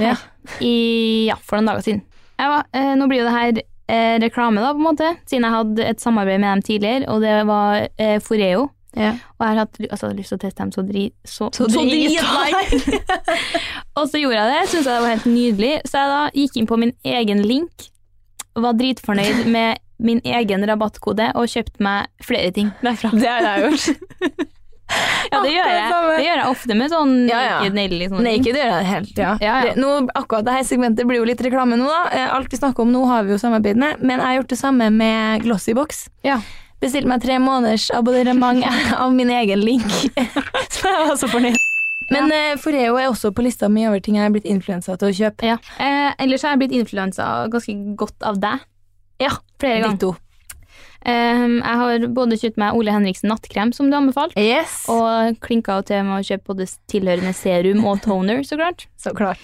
Speaker 2: Ja.
Speaker 1: ja, for noen dager siden. Jeg var, eh, nå blir jo det her eh, reklame, da, på en måte, siden jeg hadde et samarbeid med dem tidligere, og det var eh, Foreo.
Speaker 2: Ja.
Speaker 1: Og jeg har hatt ly- altså, jeg hadde lyst til å teste dem så dri... Så,
Speaker 2: Så dritlei.
Speaker 1: og så gjorde jeg det. Syntes jeg det var helt nydelig. Så jeg da gikk inn på min egen link, var dritfornøyd med min egen rabattkode og kjøpte meg flere ting derfra.
Speaker 2: Det har jeg gjort.
Speaker 1: Ja, det gjør jeg,
Speaker 2: Akkurat samme.
Speaker 1: det gjør jeg ofte med sånn
Speaker 2: Ja, ja.
Speaker 1: naked nail. Liksom.
Speaker 2: Nei, ikke det gjør jeg helt. Ja.
Speaker 1: Ja, ja.
Speaker 2: Det, nå, akkurat det her segmentet blir jo litt reklame nå, da. Eh, Alt vi snakker om nå, har vi jo samarbeid med. Men jeg har gjort det samme med Glossybox.
Speaker 1: Ja.
Speaker 2: Bestilte meg tre måneders abonnement av min egen link. så jeg var så fornøyd. Men eh, Foreo er også på lista mi over ting jeg er blitt influensa til å kjøpe.
Speaker 1: Ja. Eh, ellers har jeg blitt influensa ganske godt av deg. Ja, flere ganger.
Speaker 2: Ditto.
Speaker 1: Ehm, jeg har både kjøpt meg Ole Henriksen nattkrem, som du anbefalte,
Speaker 2: Yes. Og
Speaker 1: og klinka jo til med å kjøpe både tilhørende serum og toner, så klart.
Speaker 2: så klart.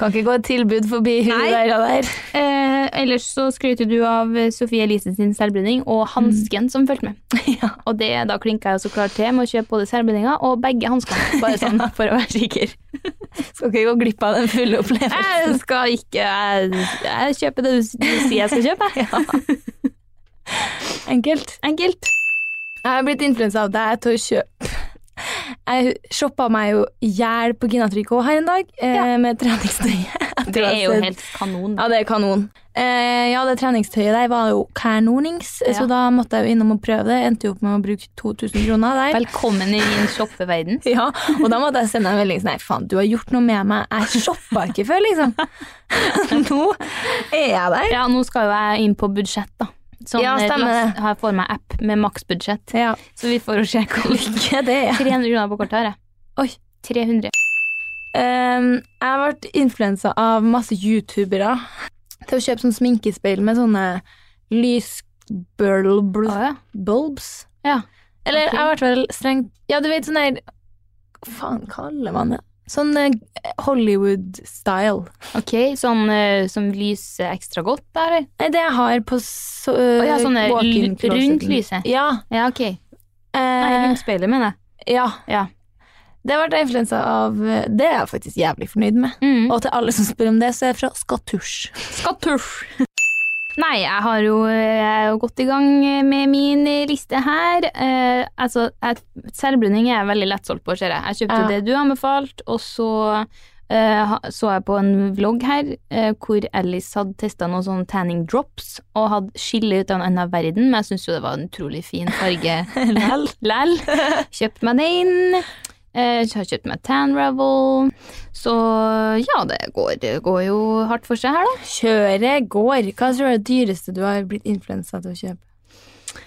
Speaker 2: Kan ikke gå et tilbud forbi hun der og der.
Speaker 1: Eh, ellers så skryter du av Sofie Elise sin selvbrenning og hansken
Speaker 2: Mm.
Speaker 1: som fulgte med. Og det, da klinka jeg jo så klart til med å kjøpe både selvbrenninga og begge hanskene, bare sånn for å være sikker.
Speaker 2: Skal ikke gå glipp av den fulle opplevelsen.
Speaker 1: Jeg skal ikke Jeg, jeg kjøper det du, s- du sier jeg skal kjøpe.
Speaker 2: Enkelt.
Speaker 1: Enkelt.
Speaker 2: Jeg har blitt influensa av deg til å kjøpe. Jeg shoppa meg jo i hjel på Gina Tricot her en dag, eh, med treningstøyet.
Speaker 1: Det er jo helt kanon.
Speaker 2: Ja, det er kanon. Eh, ja, det treningstøyet der var jo Kernonings,
Speaker 1: Ja.
Speaker 2: så da måtte jeg jo innom og prøve det. Endte jo opp med å bruke 2000 kroner der.
Speaker 1: Velkommen i min shoppeverden.
Speaker 2: Ja, og da måtte jeg sende en melding sånn Nei, faen, du har gjort noe med meg. Jeg shoppa ikke før, liksom. Nå er jeg der.
Speaker 1: Ja, nå skal jo jeg inn på budsjett, da. Sånn,
Speaker 2: Ja,
Speaker 1: eh,
Speaker 2: stemmer
Speaker 1: last-
Speaker 2: det.
Speaker 1: Her får meg app med maksbudsjett,
Speaker 2: Ja,
Speaker 1: så vi får jo se hvor
Speaker 2: ikke det. Ja.
Speaker 1: 300 kroner på kortet har jeg. Oi, 300.
Speaker 2: Ehm, jeg har vært influensa av masse youtubere til å kjøpe sånn sminkespeil med sånne lysbulbs.
Speaker 1: Å Ah, ja.
Speaker 2: Bulbs.
Speaker 1: Ja.
Speaker 2: Eller
Speaker 1: Ok.
Speaker 2: jeg har vært vel strengt Ja, du vet sånn der Hva faen kaller man det? Sånn eh, Hollywood-style.
Speaker 1: Ok, sånn eh, som lyser ekstra godt, da, eller?
Speaker 2: Nei, det jeg har på så,
Speaker 1: Å ja, sånne
Speaker 2: walk-in
Speaker 1: l- rundt
Speaker 2: closeten.
Speaker 1: lyset.
Speaker 2: Ja.
Speaker 1: Ja, ok. Nei,
Speaker 2: eh,
Speaker 1: rundt speilet, mener jeg.
Speaker 2: ja.
Speaker 1: Ja.
Speaker 2: Det har vært influensa av eh, Det er jeg faktisk jævlig fornøyd med.
Speaker 1: Mm.
Speaker 2: Og til alle som spør om det, så er jeg fra Skatusj.
Speaker 1: Skattuff! Nei, jeg har jo, jeg er jo godt i gang med min liste her. Eh, altså, jeg, Selvbruning er jeg veldig lettsolgt på, ser jeg. Jeg kjøpte
Speaker 2: Ja.
Speaker 1: det du anbefalte, og så eh, ha- så jeg på en vlogg her eh, hvor Alice hadde testa noen sånne tanning drops og hadde skille ut av en annen verden, men jeg syns jo det var en utrolig fin farge
Speaker 2: Lell.
Speaker 1: Lell. Kjøpt meg den. Eh, har kjøpt meg Tan Revel. Så ja, det går, det går jo hardt for seg her, da.
Speaker 2: Kjøret går. Hva tror du er det dyreste du har blitt influensa til å kjøpe?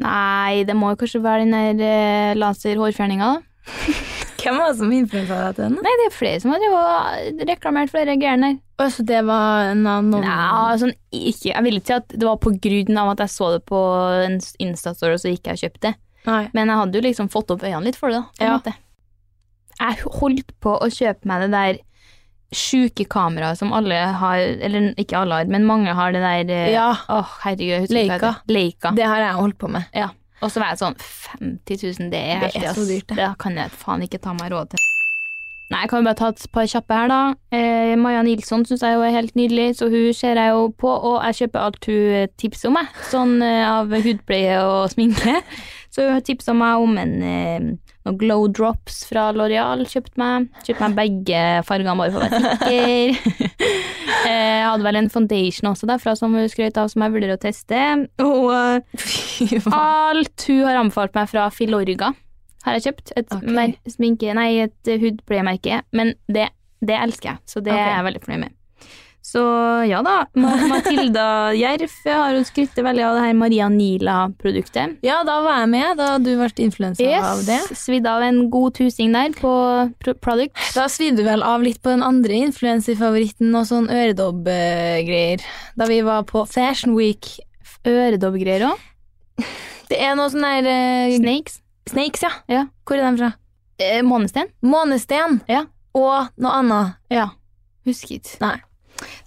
Speaker 1: Nei, det må jo kanskje være den der eh, laserhårfjerninga, da.
Speaker 2: Hvem var det som influensa deg til den?
Speaker 1: Nei, det er flere som har drevet og reklamert for de greiene der.
Speaker 2: Så det var en annen
Speaker 1: Nei, sånn, ikke, jeg vil ikke si at det var på grunn av at jeg så det på en s- Insta-story, og så gikk jeg og kjøpte det.
Speaker 2: Nei.
Speaker 1: Men jeg hadde jo liksom fått opp øynene litt for det, da. På en
Speaker 2: Ja.
Speaker 1: måte. Jeg holdt på å kjøpe meg det der sjuke kameraet som alle har Eller ikke alle har, men mange har det der eh,
Speaker 2: Ja.
Speaker 1: Åh, herregud. jeg husker ikke hva det heter. Leica.
Speaker 2: Det har jeg holdt på med.
Speaker 1: Ja. Og så var jeg sånn 50 000, det er,
Speaker 2: Det
Speaker 1: heftig,
Speaker 2: er så
Speaker 1: ass.
Speaker 2: dyrt, det.
Speaker 1: Det kan jeg faen ikke ta meg råd til. Nei, jeg kan jo bare ta et par kjappe her, da. Eh, Maja Nilsson syns jeg jo er helt nydelig, så hun ser jeg jo på, og jeg kjøper alt hun eh, tipser om, jeg. Sånn eh, av hudpleie og sminke. Så hun tipsa meg om en, eh, noen glow drops fra Loreal, kjøpte meg. Kjøpte meg begge fargene bare for å være sikker. Eh, Jeg hadde vel en foundation også derfra som hun skrøt av, som jeg vurderer å teste. Og eh, alt hun har anbefalt meg fra Filorga, har jeg kjøpt. Et
Speaker 2: Ok.
Speaker 1: mer- sminke, nei, et eh, hudpleiemerke. Men det, det elsker jeg, så det
Speaker 2: Ok.
Speaker 1: er jeg veldig fornøyd med. Så ja da, Ma- Matilda Jerv har hun skryttet veldig av det her Maria Nila-produktet.
Speaker 2: Ja, da var jeg med, da du ble influensa av det.
Speaker 1: Svidd av en god tusing der på pro- product.
Speaker 2: Da svidde du vel av litt på den andre influenserfavoritten og sånn øredobb-greier. Da vi var på Fashion Week.
Speaker 1: Øredobbgreier òg.
Speaker 2: Det er noe sånn der eh,
Speaker 1: Snakes.
Speaker 2: Snakes, ja.
Speaker 1: Ja.
Speaker 2: Hvor er de fra?
Speaker 1: Eh, Månesten.
Speaker 2: Månesten.
Speaker 1: Ja.
Speaker 2: Og noe annet.
Speaker 1: Ja. Husket.
Speaker 2: Nei.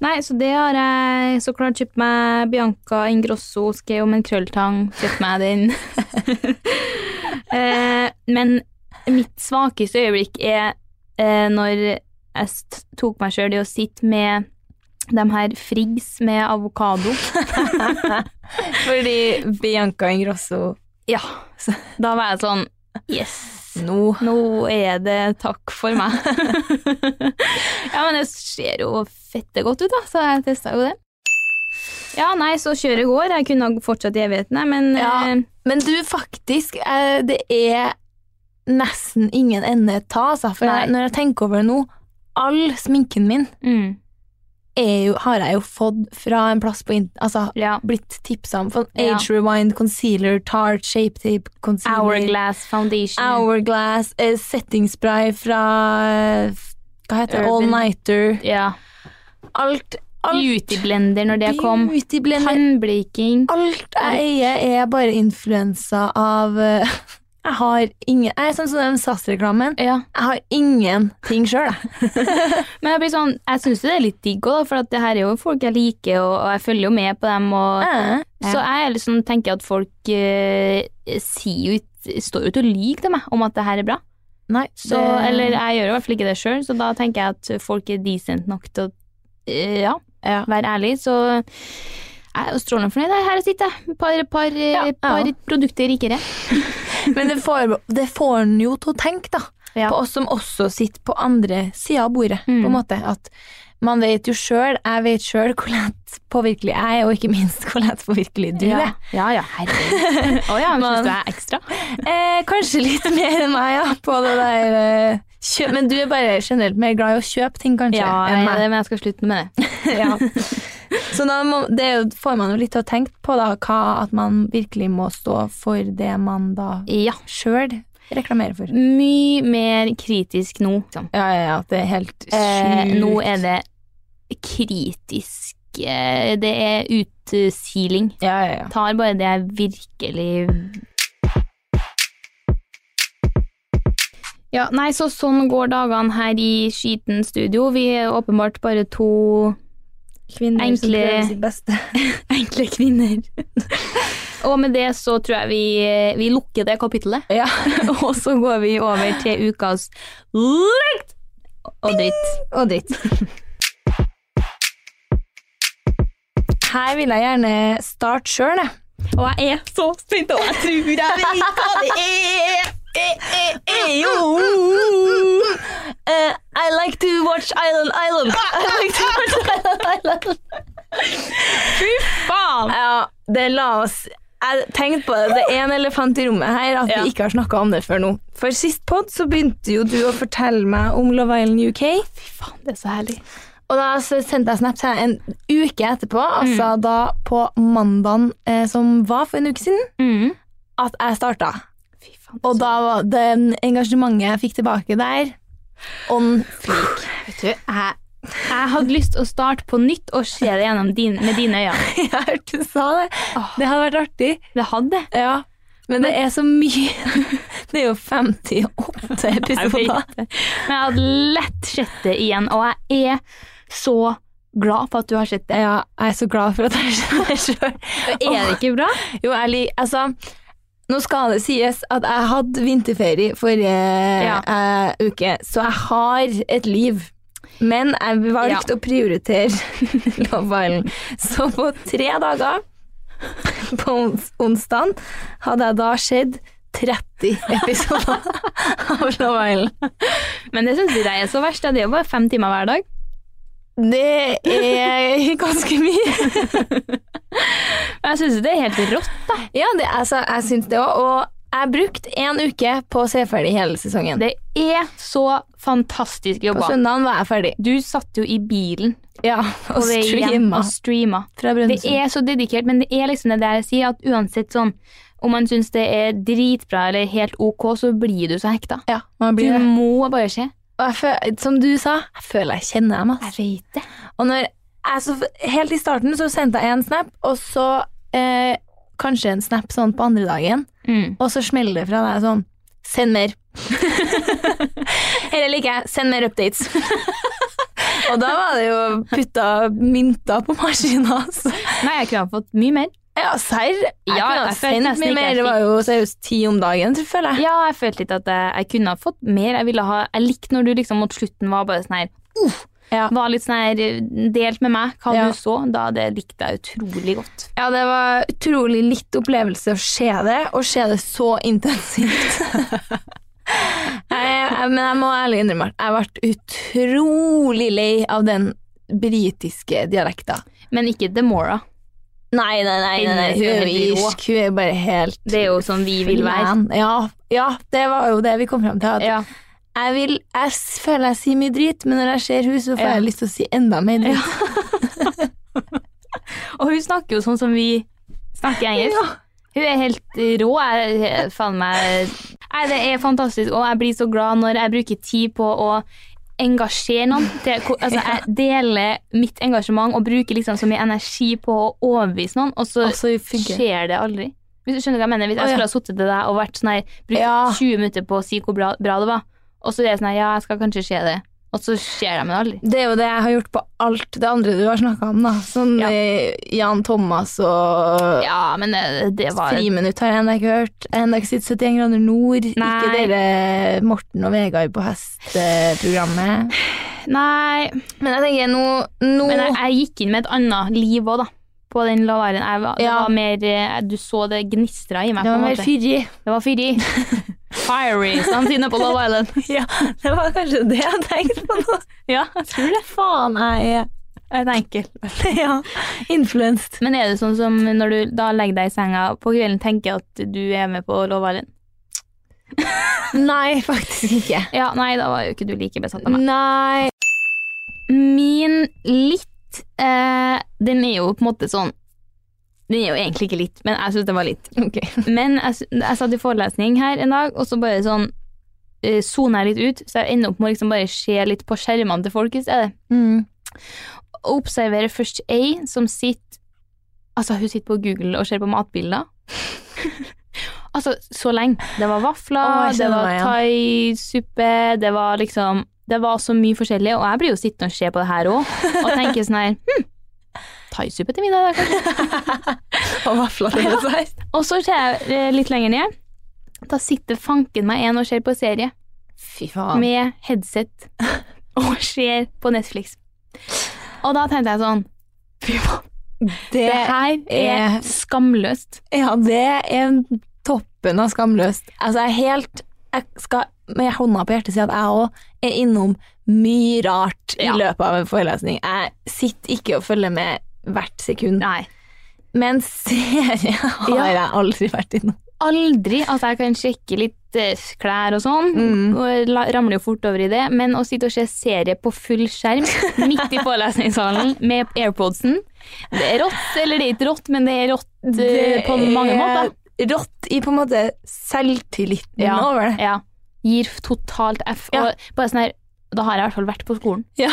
Speaker 1: Nei, så det har jeg så klart kjøpt meg. Bianca Ingrosso skrev om en krølltang. Kjøpt meg den. eh, men mitt svakeste øyeblikk er eh, når jeg st- tok meg sjøl i å sitte med de her Friggs med avokado.
Speaker 2: Fordi Bianca Ingrosso
Speaker 1: Ja. Da var jeg sånn Yes!
Speaker 2: nå
Speaker 1: Nå er det takk for meg. ja, men det ser jo fette godt ut, da, så jeg testa jo det. Ja, nei, så kjøret går. Jeg kunne ha fortsatt i evigheten, jeg, men
Speaker 2: Ja.
Speaker 1: eh,
Speaker 2: Men du, faktisk, eh, det er nesten ingen ende ta, altså. For
Speaker 1: Nei.
Speaker 2: jeg, når jeg tenker over det nå, all sminken min
Speaker 1: mm,
Speaker 2: er jo, har jeg jo fått fra en plass på internett. Altså,
Speaker 1: ja.
Speaker 2: blitt tipsa om. For
Speaker 1: Ja.
Speaker 2: Age Rewind, Concealer, Tart, Shape Tape, Concealer
Speaker 1: Hourglass Foundation.
Speaker 2: Hourglass, eh, Setting Spray fra eh, f- Hva heter det? All
Speaker 1: Urban.
Speaker 2: Nighter.
Speaker 1: Ja.
Speaker 2: Alt. alt
Speaker 1: Beautyblender når det kom.
Speaker 2: Beauty blender.
Speaker 1: Tannbleking.
Speaker 2: Alt jeg eier, er bare influensa av eh, Jeg har ingen Jeg er sånn som den SAS-reklamen.
Speaker 1: Ja.
Speaker 2: Jeg har ingenting sjøl, jeg.
Speaker 1: Men jeg blir sånn, jeg syns det er litt digg òg, for at det her er jo folk jeg liker, og, og jeg følger jo med på dem. Og,
Speaker 2: Eh,
Speaker 1: Så jeg er liksom, tenker at folk eh, sier jo ikke Står jo ikke og lyver til meg om at det her er bra.
Speaker 2: Nei,
Speaker 1: Så,
Speaker 2: det-
Speaker 1: Eller jeg gjør i hvert fall ikke det sjøl, så da tenker jeg at folk er decent nok til å eh, ja,
Speaker 2: Ja.
Speaker 1: være ærlig. Så jeg er jo strålende fornøyd. Her jeg sitter jeg. Par, par, eh,
Speaker 2: Ja, ja.
Speaker 1: par produkter rikere.
Speaker 2: Men det får, det får en jo til å tenke, da.
Speaker 1: Ja.
Speaker 2: På oss som også sitter på andre sida av bordet,
Speaker 1: Mm.
Speaker 2: på en måte. At man vet jo sjøl, jeg vet sjøl hvor lett påvirkelig jeg er, og ikke minst hvor lett påvirkelig du
Speaker 1: ja.
Speaker 2: er.
Speaker 1: ja ja, herregud. Å ja, men
Speaker 2: Man-
Speaker 1: syns du jeg er ekstra?
Speaker 2: Eh, kanskje litt mer enn meg, ja, på det der eh, kjøp. Men du er bare generelt mer glad i å kjøpe ting, kanskje,
Speaker 1: Ja,
Speaker 2: enn
Speaker 1: jeg er
Speaker 2: meg.
Speaker 1: det, men jeg skal slutte med det.
Speaker 2: ja. Så da må, det er jo, får man jo litt å tenke på, da, hva, at man virkelig må stå for det man da
Speaker 1: Ja.
Speaker 2: sjøl reklamerer for.
Speaker 1: Mye mer kritisk nå. Liksom.
Speaker 2: Ja, ja, ja, det er helt sjukt.
Speaker 1: Eh, nå er det kritisk. eh, Det er utsiling.
Speaker 2: Ja, ja, ja.
Speaker 1: tar bare det jeg virkelig Ja, nei, så sånn går dagene her i skiten studio. Vi er åpenbart bare to
Speaker 2: Kvinner
Speaker 1: som prøver sitt
Speaker 2: beste.
Speaker 1: enkle kvinner. og med det så tror jeg vi, vi lukker det kapittelet.
Speaker 2: Ja.
Speaker 1: og så går vi over til ukas lukt og dritt.
Speaker 2: Og dritt. Her vil jeg gjerne starte sjøl, jeg.
Speaker 1: Og jeg er så spent, og jeg tror jeg vet hva det er!
Speaker 2: Eh, I like to watch Island Island. I like to watch Island Island.
Speaker 1: Faen!
Speaker 2: Ja, det la oss Jeg tenkte på det. Det er en elefant i rommet her at
Speaker 1: Ja.
Speaker 2: vi ikke har snakka om det før nå. For sist pod så begynte jo du å fortelle meg om Love Island UK.
Speaker 1: Det er så herlig.
Speaker 2: Og da s- sendte jeg snap til deg en uke etterpå, altså
Speaker 1: Mm.
Speaker 2: da på mandagen eh, som var for en uke siden,
Speaker 1: Mm.
Speaker 2: at jeg starta.
Speaker 1: Fy faen.
Speaker 2: Og da var det engasjementet jeg fikk tilbake der, on fleek.
Speaker 1: Vet du, jeg, jeg hadde lyst å starte på nytt og se det gjennom din, med dine øyne.
Speaker 2: Jeg hørte du sa det. Det hadde vært artig.
Speaker 1: Det hadde jeg.
Speaker 2: Ja. Men det er så mye. Det er jo 58 episoder.
Speaker 1: vet det. Men jeg hadde lett sett det igjen, og jeg er så glad for at du har sett det.
Speaker 2: Ja, jeg er så glad for at jeg skjønner det sjøl.
Speaker 1: Er det ikke bra?
Speaker 2: Jo, jeg lik, altså Nå skal det sies at jeg hadde vinterferie forrige eh, uke, så jeg har et liv. Men jeg valgte å prioritere Love Island. Så på tre dager på ons onsdagen hadde jeg da sett 30 episoder av Love Island.
Speaker 1: Men det syns ikke jeg er så verst. Det er jo bare fem timer hver dag.
Speaker 2: Det er ganske mye.
Speaker 1: Men jeg syns det er helt rått.
Speaker 2: Ja, det, altså, jeg syns det òg. Og jeg brukte én uke på å se ferdig hele sesongen.
Speaker 1: Det er så fantastisk
Speaker 2: På
Speaker 1: jobba.
Speaker 2: søndagen var jeg ferdig.
Speaker 1: Du satt jo i bilen
Speaker 2: Ja,
Speaker 1: på
Speaker 2: og
Speaker 1: vei hjem
Speaker 2: streama
Speaker 1: og streama.
Speaker 2: fra
Speaker 1: Det
Speaker 2: Brønnøysund.
Speaker 1: er så dedikert, men det er liksom det der jeg sier, at uansett sånn om man syns det er dritbra eller helt ok, så blir du så hekta.
Speaker 2: Ja, man
Speaker 1: Du
Speaker 2: blir det.
Speaker 1: må bare se.
Speaker 2: Og jeg føl, som du sa, jeg føler jeg kjenner dem. ass.
Speaker 1: vet det.
Speaker 2: Og når jeg så, helt i starten så sendte jeg en snap, og så eh, kanskje en snap sånn på andre dagen,
Speaker 1: Mm.
Speaker 2: og så smeller det fra deg sånn Send mer. Eller liker jeg. Send mer updates. og da var det jo putta mynter på maskina. Altså.
Speaker 1: Nei, jeg kunne ha fått mye mer.
Speaker 2: Ja, serr. Jeg kunne
Speaker 1: Ja,
Speaker 2: ha
Speaker 1: jeg følte
Speaker 2: sendt mye
Speaker 1: nesten ikke jeg
Speaker 2: mer. Det var jo seriøst ti om dagen, tror jeg, føler jeg.
Speaker 1: Ja, jeg følte litt at jeg, jeg kunne ha fått mer. Jeg, ville ha, jeg likte når du liksom mot slutten var bare sånn her
Speaker 2: Ja.
Speaker 1: Var litt sånn her eh, delt med meg hva
Speaker 2: Ja.
Speaker 1: du så. Da det likte jeg utrolig godt.
Speaker 2: Ja, det var utrolig litt opplevelse å se det, og se det så intensivt. jeg, jeg, men jeg må ærlig innrømme at jeg ble utrolig lei av den britiske dialekta.
Speaker 1: Men ikke Demora.
Speaker 2: Nei, nei, nei, nei, nei. hun er jo irsk. Hun er bare helt
Speaker 1: Det er jo sånn vi vil være.
Speaker 2: Man. Ja, ja, det var jo det vi kom fram til. At
Speaker 1: Ja.
Speaker 2: jeg, vil, jeg s- føler jeg sier mye drit, men når jeg ser hun, så får
Speaker 1: Ja.
Speaker 2: jeg lyst til å si enda mer drit.
Speaker 1: Og hun snakker jo sånn som vi snakker engelsk. Hun er helt rå. Jeg, jeg- faen meg Nei, det er fantastisk, og jeg blir så glad når jeg bruker tid på å engasjere noen. Til, hvor- altså, jeg deler mitt engasjement og bruker liksom så mye energi på å overbevise noen, og så
Speaker 2: Og så funker det.
Speaker 1: skjer det aldri. Hvis du skjønner hva jeg mener? Hvis
Speaker 2: Altså, Å,
Speaker 1: jeg
Speaker 2: ja.
Speaker 1: skulle ha sittet til deg og vært sånn her, brukt
Speaker 2: Ja.
Speaker 1: 20 minutter på å si hvor bra, bra det var, og så er det sånn her, ja, jeg skal kanskje se det, og så skjer det, men aldri.
Speaker 2: Det er jo det jeg har gjort på alt det andre du har snakka om, da. Sånn
Speaker 1: Ja.
Speaker 2: eh, Jan Thomas og
Speaker 1: Ja, men eh, det var
Speaker 2: Friminutt har jeg ennå ikke hørt. Ennå ikke sett 71 grader nord.
Speaker 1: Nei.
Speaker 2: Ikke dere Morten og Vegard på hest-programmet.
Speaker 1: Nei,
Speaker 2: Men jeg tenker nå, nå
Speaker 1: Men jeg, jeg gikk inn med et annet liv òg, da. På den lavaren. Jeg, var- det
Speaker 2: Ja.
Speaker 1: var mer, eh, du så det gnistra i meg.
Speaker 2: Det
Speaker 1: på
Speaker 2: var
Speaker 1: en
Speaker 2: mer
Speaker 1: måte.
Speaker 2: fyrig.
Speaker 1: det var fyri. Fiery, som han sier på Love Island.
Speaker 2: Ja, det var kanskje det jeg tenkte på nå.
Speaker 1: Ja, jeg tror det.
Speaker 2: Faen, jeg
Speaker 1: Jeg tenker.
Speaker 2: er ja, influenced.
Speaker 1: Men er det sånn som når du da legger deg i senga på kvelden, tenker at du er med på Love Island?
Speaker 2: Nei, faktisk ikke.
Speaker 1: Ja, nei, da var jo ikke du like besatt av meg.
Speaker 2: Nei.
Speaker 1: Min litt eh, Den er jo på en måte sånn Den er jo egentlig ikke litt, men jeg syns det var litt.
Speaker 2: Ok.
Speaker 1: Men jeg, s- jeg satt i forelesning her en dag, og så bare sånn eh, soner jeg litt ut, så jeg ender opp med å liksom bare se litt på skjermene til folk i stedet.
Speaker 2: Mm.
Speaker 1: Og observerer først ei som sitter Altså, hun sitter på Google og ser på matbilder. altså, så lenge. Det var vafler,
Speaker 2: Å, jeg
Speaker 1: det
Speaker 2: kjenner
Speaker 1: var
Speaker 2: meg igjen.
Speaker 1: thaisuppe, det var liksom Det var så mye forskjellig, og jeg blir jo sittende og se på det her òg, og tenker sånn her hm, Thaisuppe til middag i dag, kanskje?
Speaker 2: Og vafler til dessert.
Speaker 1: Og så ser jeg eh, litt lenger ned. Da sitter fanken meg en og ser på serie
Speaker 2: Fy faen.
Speaker 1: med headset og ser på Netflix. Og da tenkte jeg sånn Fy faen,
Speaker 2: Det,
Speaker 1: det her er
Speaker 2: er-
Speaker 1: skamløst.
Speaker 2: Ja, det er toppen av skamløst. Altså, jeg er helt Jeg skal med hånda på hjertet si at jeg òg er innom mye rart i
Speaker 1: Ja.
Speaker 2: løpet av en forelesning. Jeg sitter ikke og følger med hvert sekund.
Speaker 1: Nei.
Speaker 2: Men serie har
Speaker 1: Ja.
Speaker 2: jeg aldri vært innom.
Speaker 1: Aldri at jeg kan sjekke litt eh, klær og sånn,
Speaker 2: Mm.
Speaker 1: og jeg la- ramler jo fort over i det, men å sitte og se serie på full skjerm midt i forelesningssalen med airpodsen Det er rått, eller det er ikke rått, men det er rått eh, på mange måter.
Speaker 2: Det er Rått i på en måte selvtilliten
Speaker 1: Ja.
Speaker 2: over det.
Speaker 1: Ja. Gir totalt F.
Speaker 2: Ja.
Speaker 1: Og bare sånn her, da har jeg i hvert fall vært på skolen.
Speaker 2: Ja.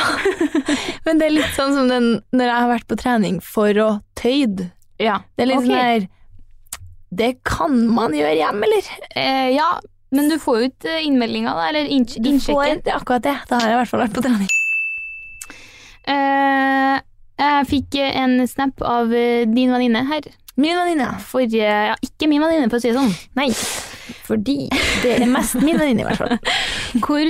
Speaker 2: Men det er litt sånn som den, når jeg har vært på trening for å tøyd.
Speaker 1: Ja.
Speaker 2: Det er litt
Speaker 1: Ok.
Speaker 2: sånn her Det kan man gjøre hjemme, eller?
Speaker 1: Eh, ja, men du får jo ikke innmeldinga, da, eller innsj-
Speaker 2: Du får
Speaker 1: innsjekken.
Speaker 2: det er akkurat det. Da har jeg i hvert fall vært på trening.
Speaker 1: Eh, jeg fikk eh, en snap av eh, din venninne her.
Speaker 2: Min venninne.
Speaker 1: Forrige eh, Ja, ikke min venninne, for å si det sånn.
Speaker 2: Nei, fordi det er mest min venninne, i hvert fall.
Speaker 1: Hvor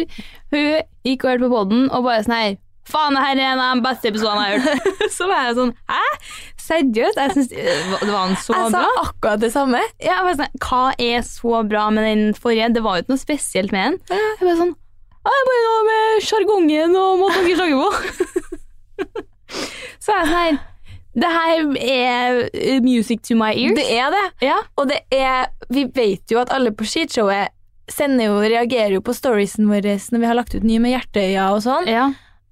Speaker 1: hun gikk og hørte på poden og bare sånn her faen, det her er en av de beste episodene jeg har hørt. Så var jeg sånn, hæ? Seriøst? Jeg synes det var en så
Speaker 2: Jeg sa "Ah."
Speaker 1: bra.
Speaker 2: akkurat det samme.
Speaker 1: Ja, jeg var sånn, hva er så bra med den forrige? Det var jo ikke noe spesielt med den. Jeg var sånn, «Ja, det er bare noe med sjargongen og måten dere snakker på. så er jeg sånn her, det her er eh, music to my ears.
Speaker 2: Det er det.
Speaker 1: Ja.
Speaker 2: Og det er Vi vet jo at alle på skishowet sender jo, reagerer jo på storiesen vår når vi har lagt ut nye med hjerteøya og sånn.
Speaker 1: Ja.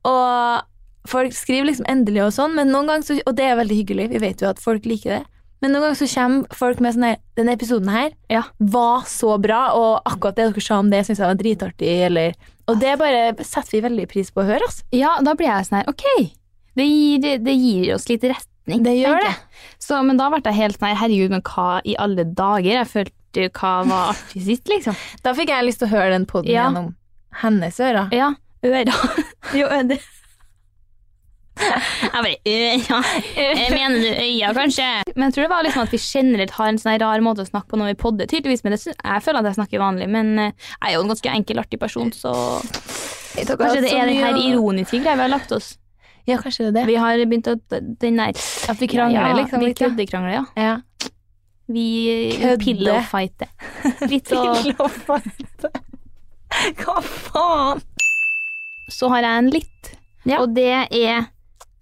Speaker 2: Og folk skriver liksom endelig og sånn, men noen ganger så, og det er veldig hyggelig, vi vet jo at folk liker det. Men noen ganger så kommer folk med sånn her Denne episoden her
Speaker 1: Ja.
Speaker 2: var så bra, og akkurat det dere sa om det, syns jeg var dritartig, eller Og det bare setter vi veldig pris på å høre, altså.
Speaker 1: Ja, da blir jeg sånn her, ok, det gir, det gir oss litt retning.
Speaker 2: Det gjør
Speaker 1: tenker jeg. Så, men da ble jeg helt sånn her, herregud, men hva i alle dager? Jeg følte hva var artig sitt, liksom.
Speaker 2: Da fikk jeg lyst til å høre den poden
Speaker 1: Ja.
Speaker 2: gjennom hennes ører.
Speaker 1: Ja, øra. Jo, ø- det. Jeg bare øra. Eh, Mener du øya, kanskje? Men jeg tror det var liksom at vi generelt har en sånn her rar måte å snakke på når vi podder. Tydeligvis, men det syns- jeg føler at jeg snakker vanlig. Men eh, jeg er jo en ganske enkel, artig person, så kanskje det er den her ironiske greia vi har lagt oss.
Speaker 2: Ja, kanskje det er det.
Speaker 1: Vi har begynt å Den der
Speaker 2: At vi krangler,
Speaker 1: ja,
Speaker 2: liksom,
Speaker 1: Vi
Speaker 2: litt, ja.
Speaker 1: køddekrangler, ja.
Speaker 2: Ja.
Speaker 1: Vi
Speaker 2: Kødde.
Speaker 1: pillowfighter. Litt så
Speaker 2: Hva faen?
Speaker 1: så har jeg en litt.
Speaker 2: Ja.
Speaker 1: Og det er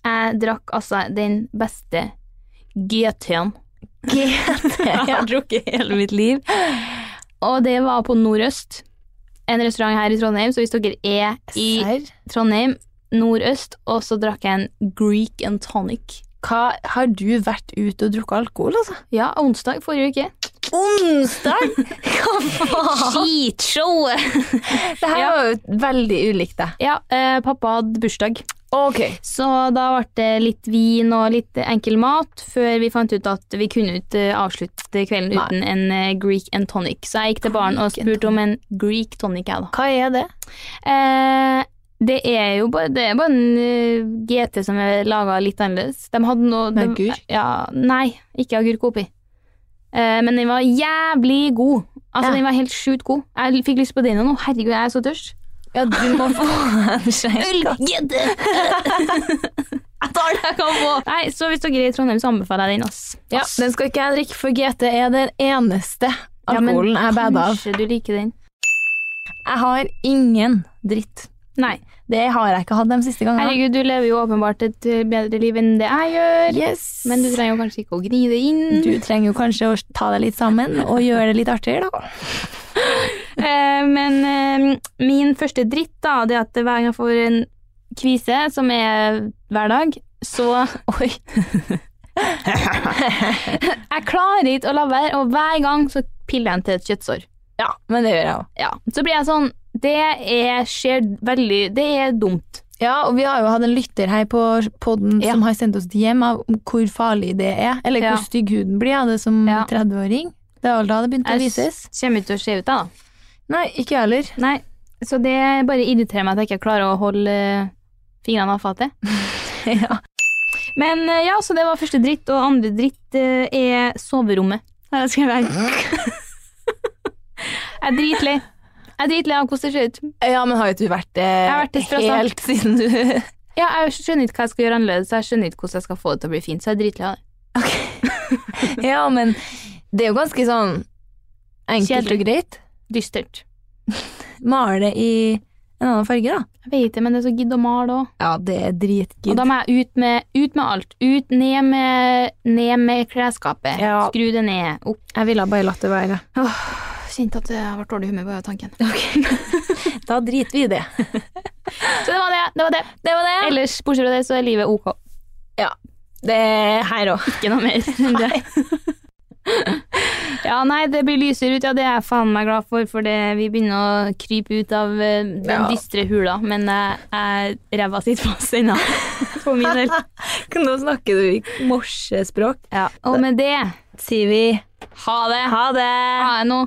Speaker 1: Jeg drakk altså den beste GT-en jeg har drukket i hele mitt liv. Og det var på Nordøst, en restaurant her i Trondheim. Så hvis dere er i
Speaker 2: Serr?
Speaker 1: Trondheim, Nordøst, og så drakk jeg en Greek and tonic.
Speaker 2: Hva, har du vært ute og drukket alkohol, altså?
Speaker 1: Ja, onsdag forrige uke.
Speaker 2: Onsdag? Hva faen?
Speaker 1: Skitshowet!
Speaker 2: Det her
Speaker 1: Ja.
Speaker 2: var jo veldig ulikt deg.
Speaker 1: ja, eh, pappa hadde bursdag.
Speaker 2: Ok.
Speaker 1: Så da ble det litt vin og litt enkel mat, før vi fant ut at vi kunne ikke eh, avslutte kvelden
Speaker 2: Nei.
Speaker 1: uten en eh, Greek and tonic. Så jeg gikk til baren og
Speaker 2: Greek and
Speaker 1: spurte om en Greek tonic, jeg, da.
Speaker 2: Hva er det?
Speaker 1: Eh, det er jo bare, det er bare en eh, GT som er laga litt annerledes. De hadde noe
Speaker 2: Med
Speaker 1: de-
Speaker 2: agurk?
Speaker 1: Ja, nei, ikke agurk oppi. Eh, men den var jævlig god. Altså,
Speaker 2: Ja.
Speaker 1: Den var helt sjukt god. Jeg fikk lyst på den nå. Herregud, jeg er så tørst.
Speaker 2: Ja, du må få en skjenk.
Speaker 1: Ølgjedde! jeg tar det jeg kan få. Nei, så hvis dere er i Trondheim, så anbefaler jeg den, ass.
Speaker 2: Ja,
Speaker 1: Ass.
Speaker 2: den skal ikke jeg drikke, for GT er den eneste
Speaker 1: Ja, men
Speaker 2: alkoholen jeg bader av.
Speaker 1: Kanskje du liker den.
Speaker 2: Jeg har ingen dritt.
Speaker 1: Nei.
Speaker 2: Det har jeg ikke hatt de siste gangene.
Speaker 1: Herregud, du lever jo åpenbart et eh, bedre liv enn det jeg gjør.
Speaker 2: Yes.
Speaker 1: Men du trenger jo kanskje ikke å gni det inn.
Speaker 2: Du trenger jo kanskje å ta deg litt sammen og gjøre det litt artigere, da.
Speaker 1: Eh, men eh, min første dritt, da, det er at hver gang jeg får en kvise, som er hver dag, så Oi. jeg klarer ikke å la være, og hver gang så piller jeg den til et kjøttsår.
Speaker 2: Ja, men det gjør jeg òg.
Speaker 1: Ja, så blir jeg sånn Det er, skjer veldig Det er dumt.
Speaker 2: Ja, og vi har jo hatt en lytter her på podden
Speaker 1: Ja.
Speaker 2: som har sendt oss hjem av om hvor farlig det er, eller
Speaker 1: Ja.
Speaker 2: hvor stygg huden blir av det som
Speaker 1: Ja.
Speaker 2: 30-åring. Det er vel da det begynte å
Speaker 1: Jeg
Speaker 2: vises.
Speaker 1: s- kommer ikke til å se ut, jeg, da.
Speaker 2: Nei, ikke jeg heller.
Speaker 1: Nei, så det bare irriterer meg at jeg ikke klarer å holde eh, fingrene av fatet.
Speaker 2: ja.
Speaker 1: Men eh, ja, så det var første dritt, og andre dritt eh, er soverommet. Her har jeg skrevet Jeg er dritlei. Jeg er dritlei av hvordan det ser ut.
Speaker 2: ja, men har jo ikke du vært det
Speaker 1: har vært det fra start.
Speaker 2: helt siden du
Speaker 1: Ja, jeg skjønner ikke hva jeg skal gjøre annerledes, jeg skjønner ikke hvordan jeg skal få det til å bli fint, så jeg er dritlei av det.
Speaker 2: Ja, men det er jo ganske sånn enkelt
Speaker 1: Kjedelig.
Speaker 2: og greit.
Speaker 1: Dystert.
Speaker 2: Male i en annen farge, da.
Speaker 1: Jeg vet det, men det er så gidd å male òg.
Speaker 2: Ja, det er dritgidd.
Speaker 1: Og da må jeg ut med, ut med alt. Ut, ned med, ned med klesskapet.
Speaker 2: Ja.
Speaker 1: Skru det ned. Opp.
Speaker 2: Jeg ville bare latt det være.
Speaker 1: Åh, kjente at jeg ble dårlig i humør bare av tanken.
Speaker 2: Da driter vi i det.
Speaker 1: Så det var det. det, var det.
Speaker 2: Det var det.
Speaker 1: Ellers, bortsett fra det, så er livet ok.
Speaker 2: det er her òg.
Speaker 1: Ikke noe mer enn det. ja, nei, det blir lysere ut. Ja, det er jeg faen meg glad for, for det, vi begynner å krype ut av eh, den
Speaker 2: Ja.
Speaker 1: dystre hula. Men jeg- jeg ræva sitter fast ennå, for min del.
Speaker 2: Nå snakker du i morsespråk.
Speaker 1: Ja. Og med det
Speaker 2: sier vi
Speaker 1: ha det!
Speaker 2: ha det.
Speaker 1: Ha det nå.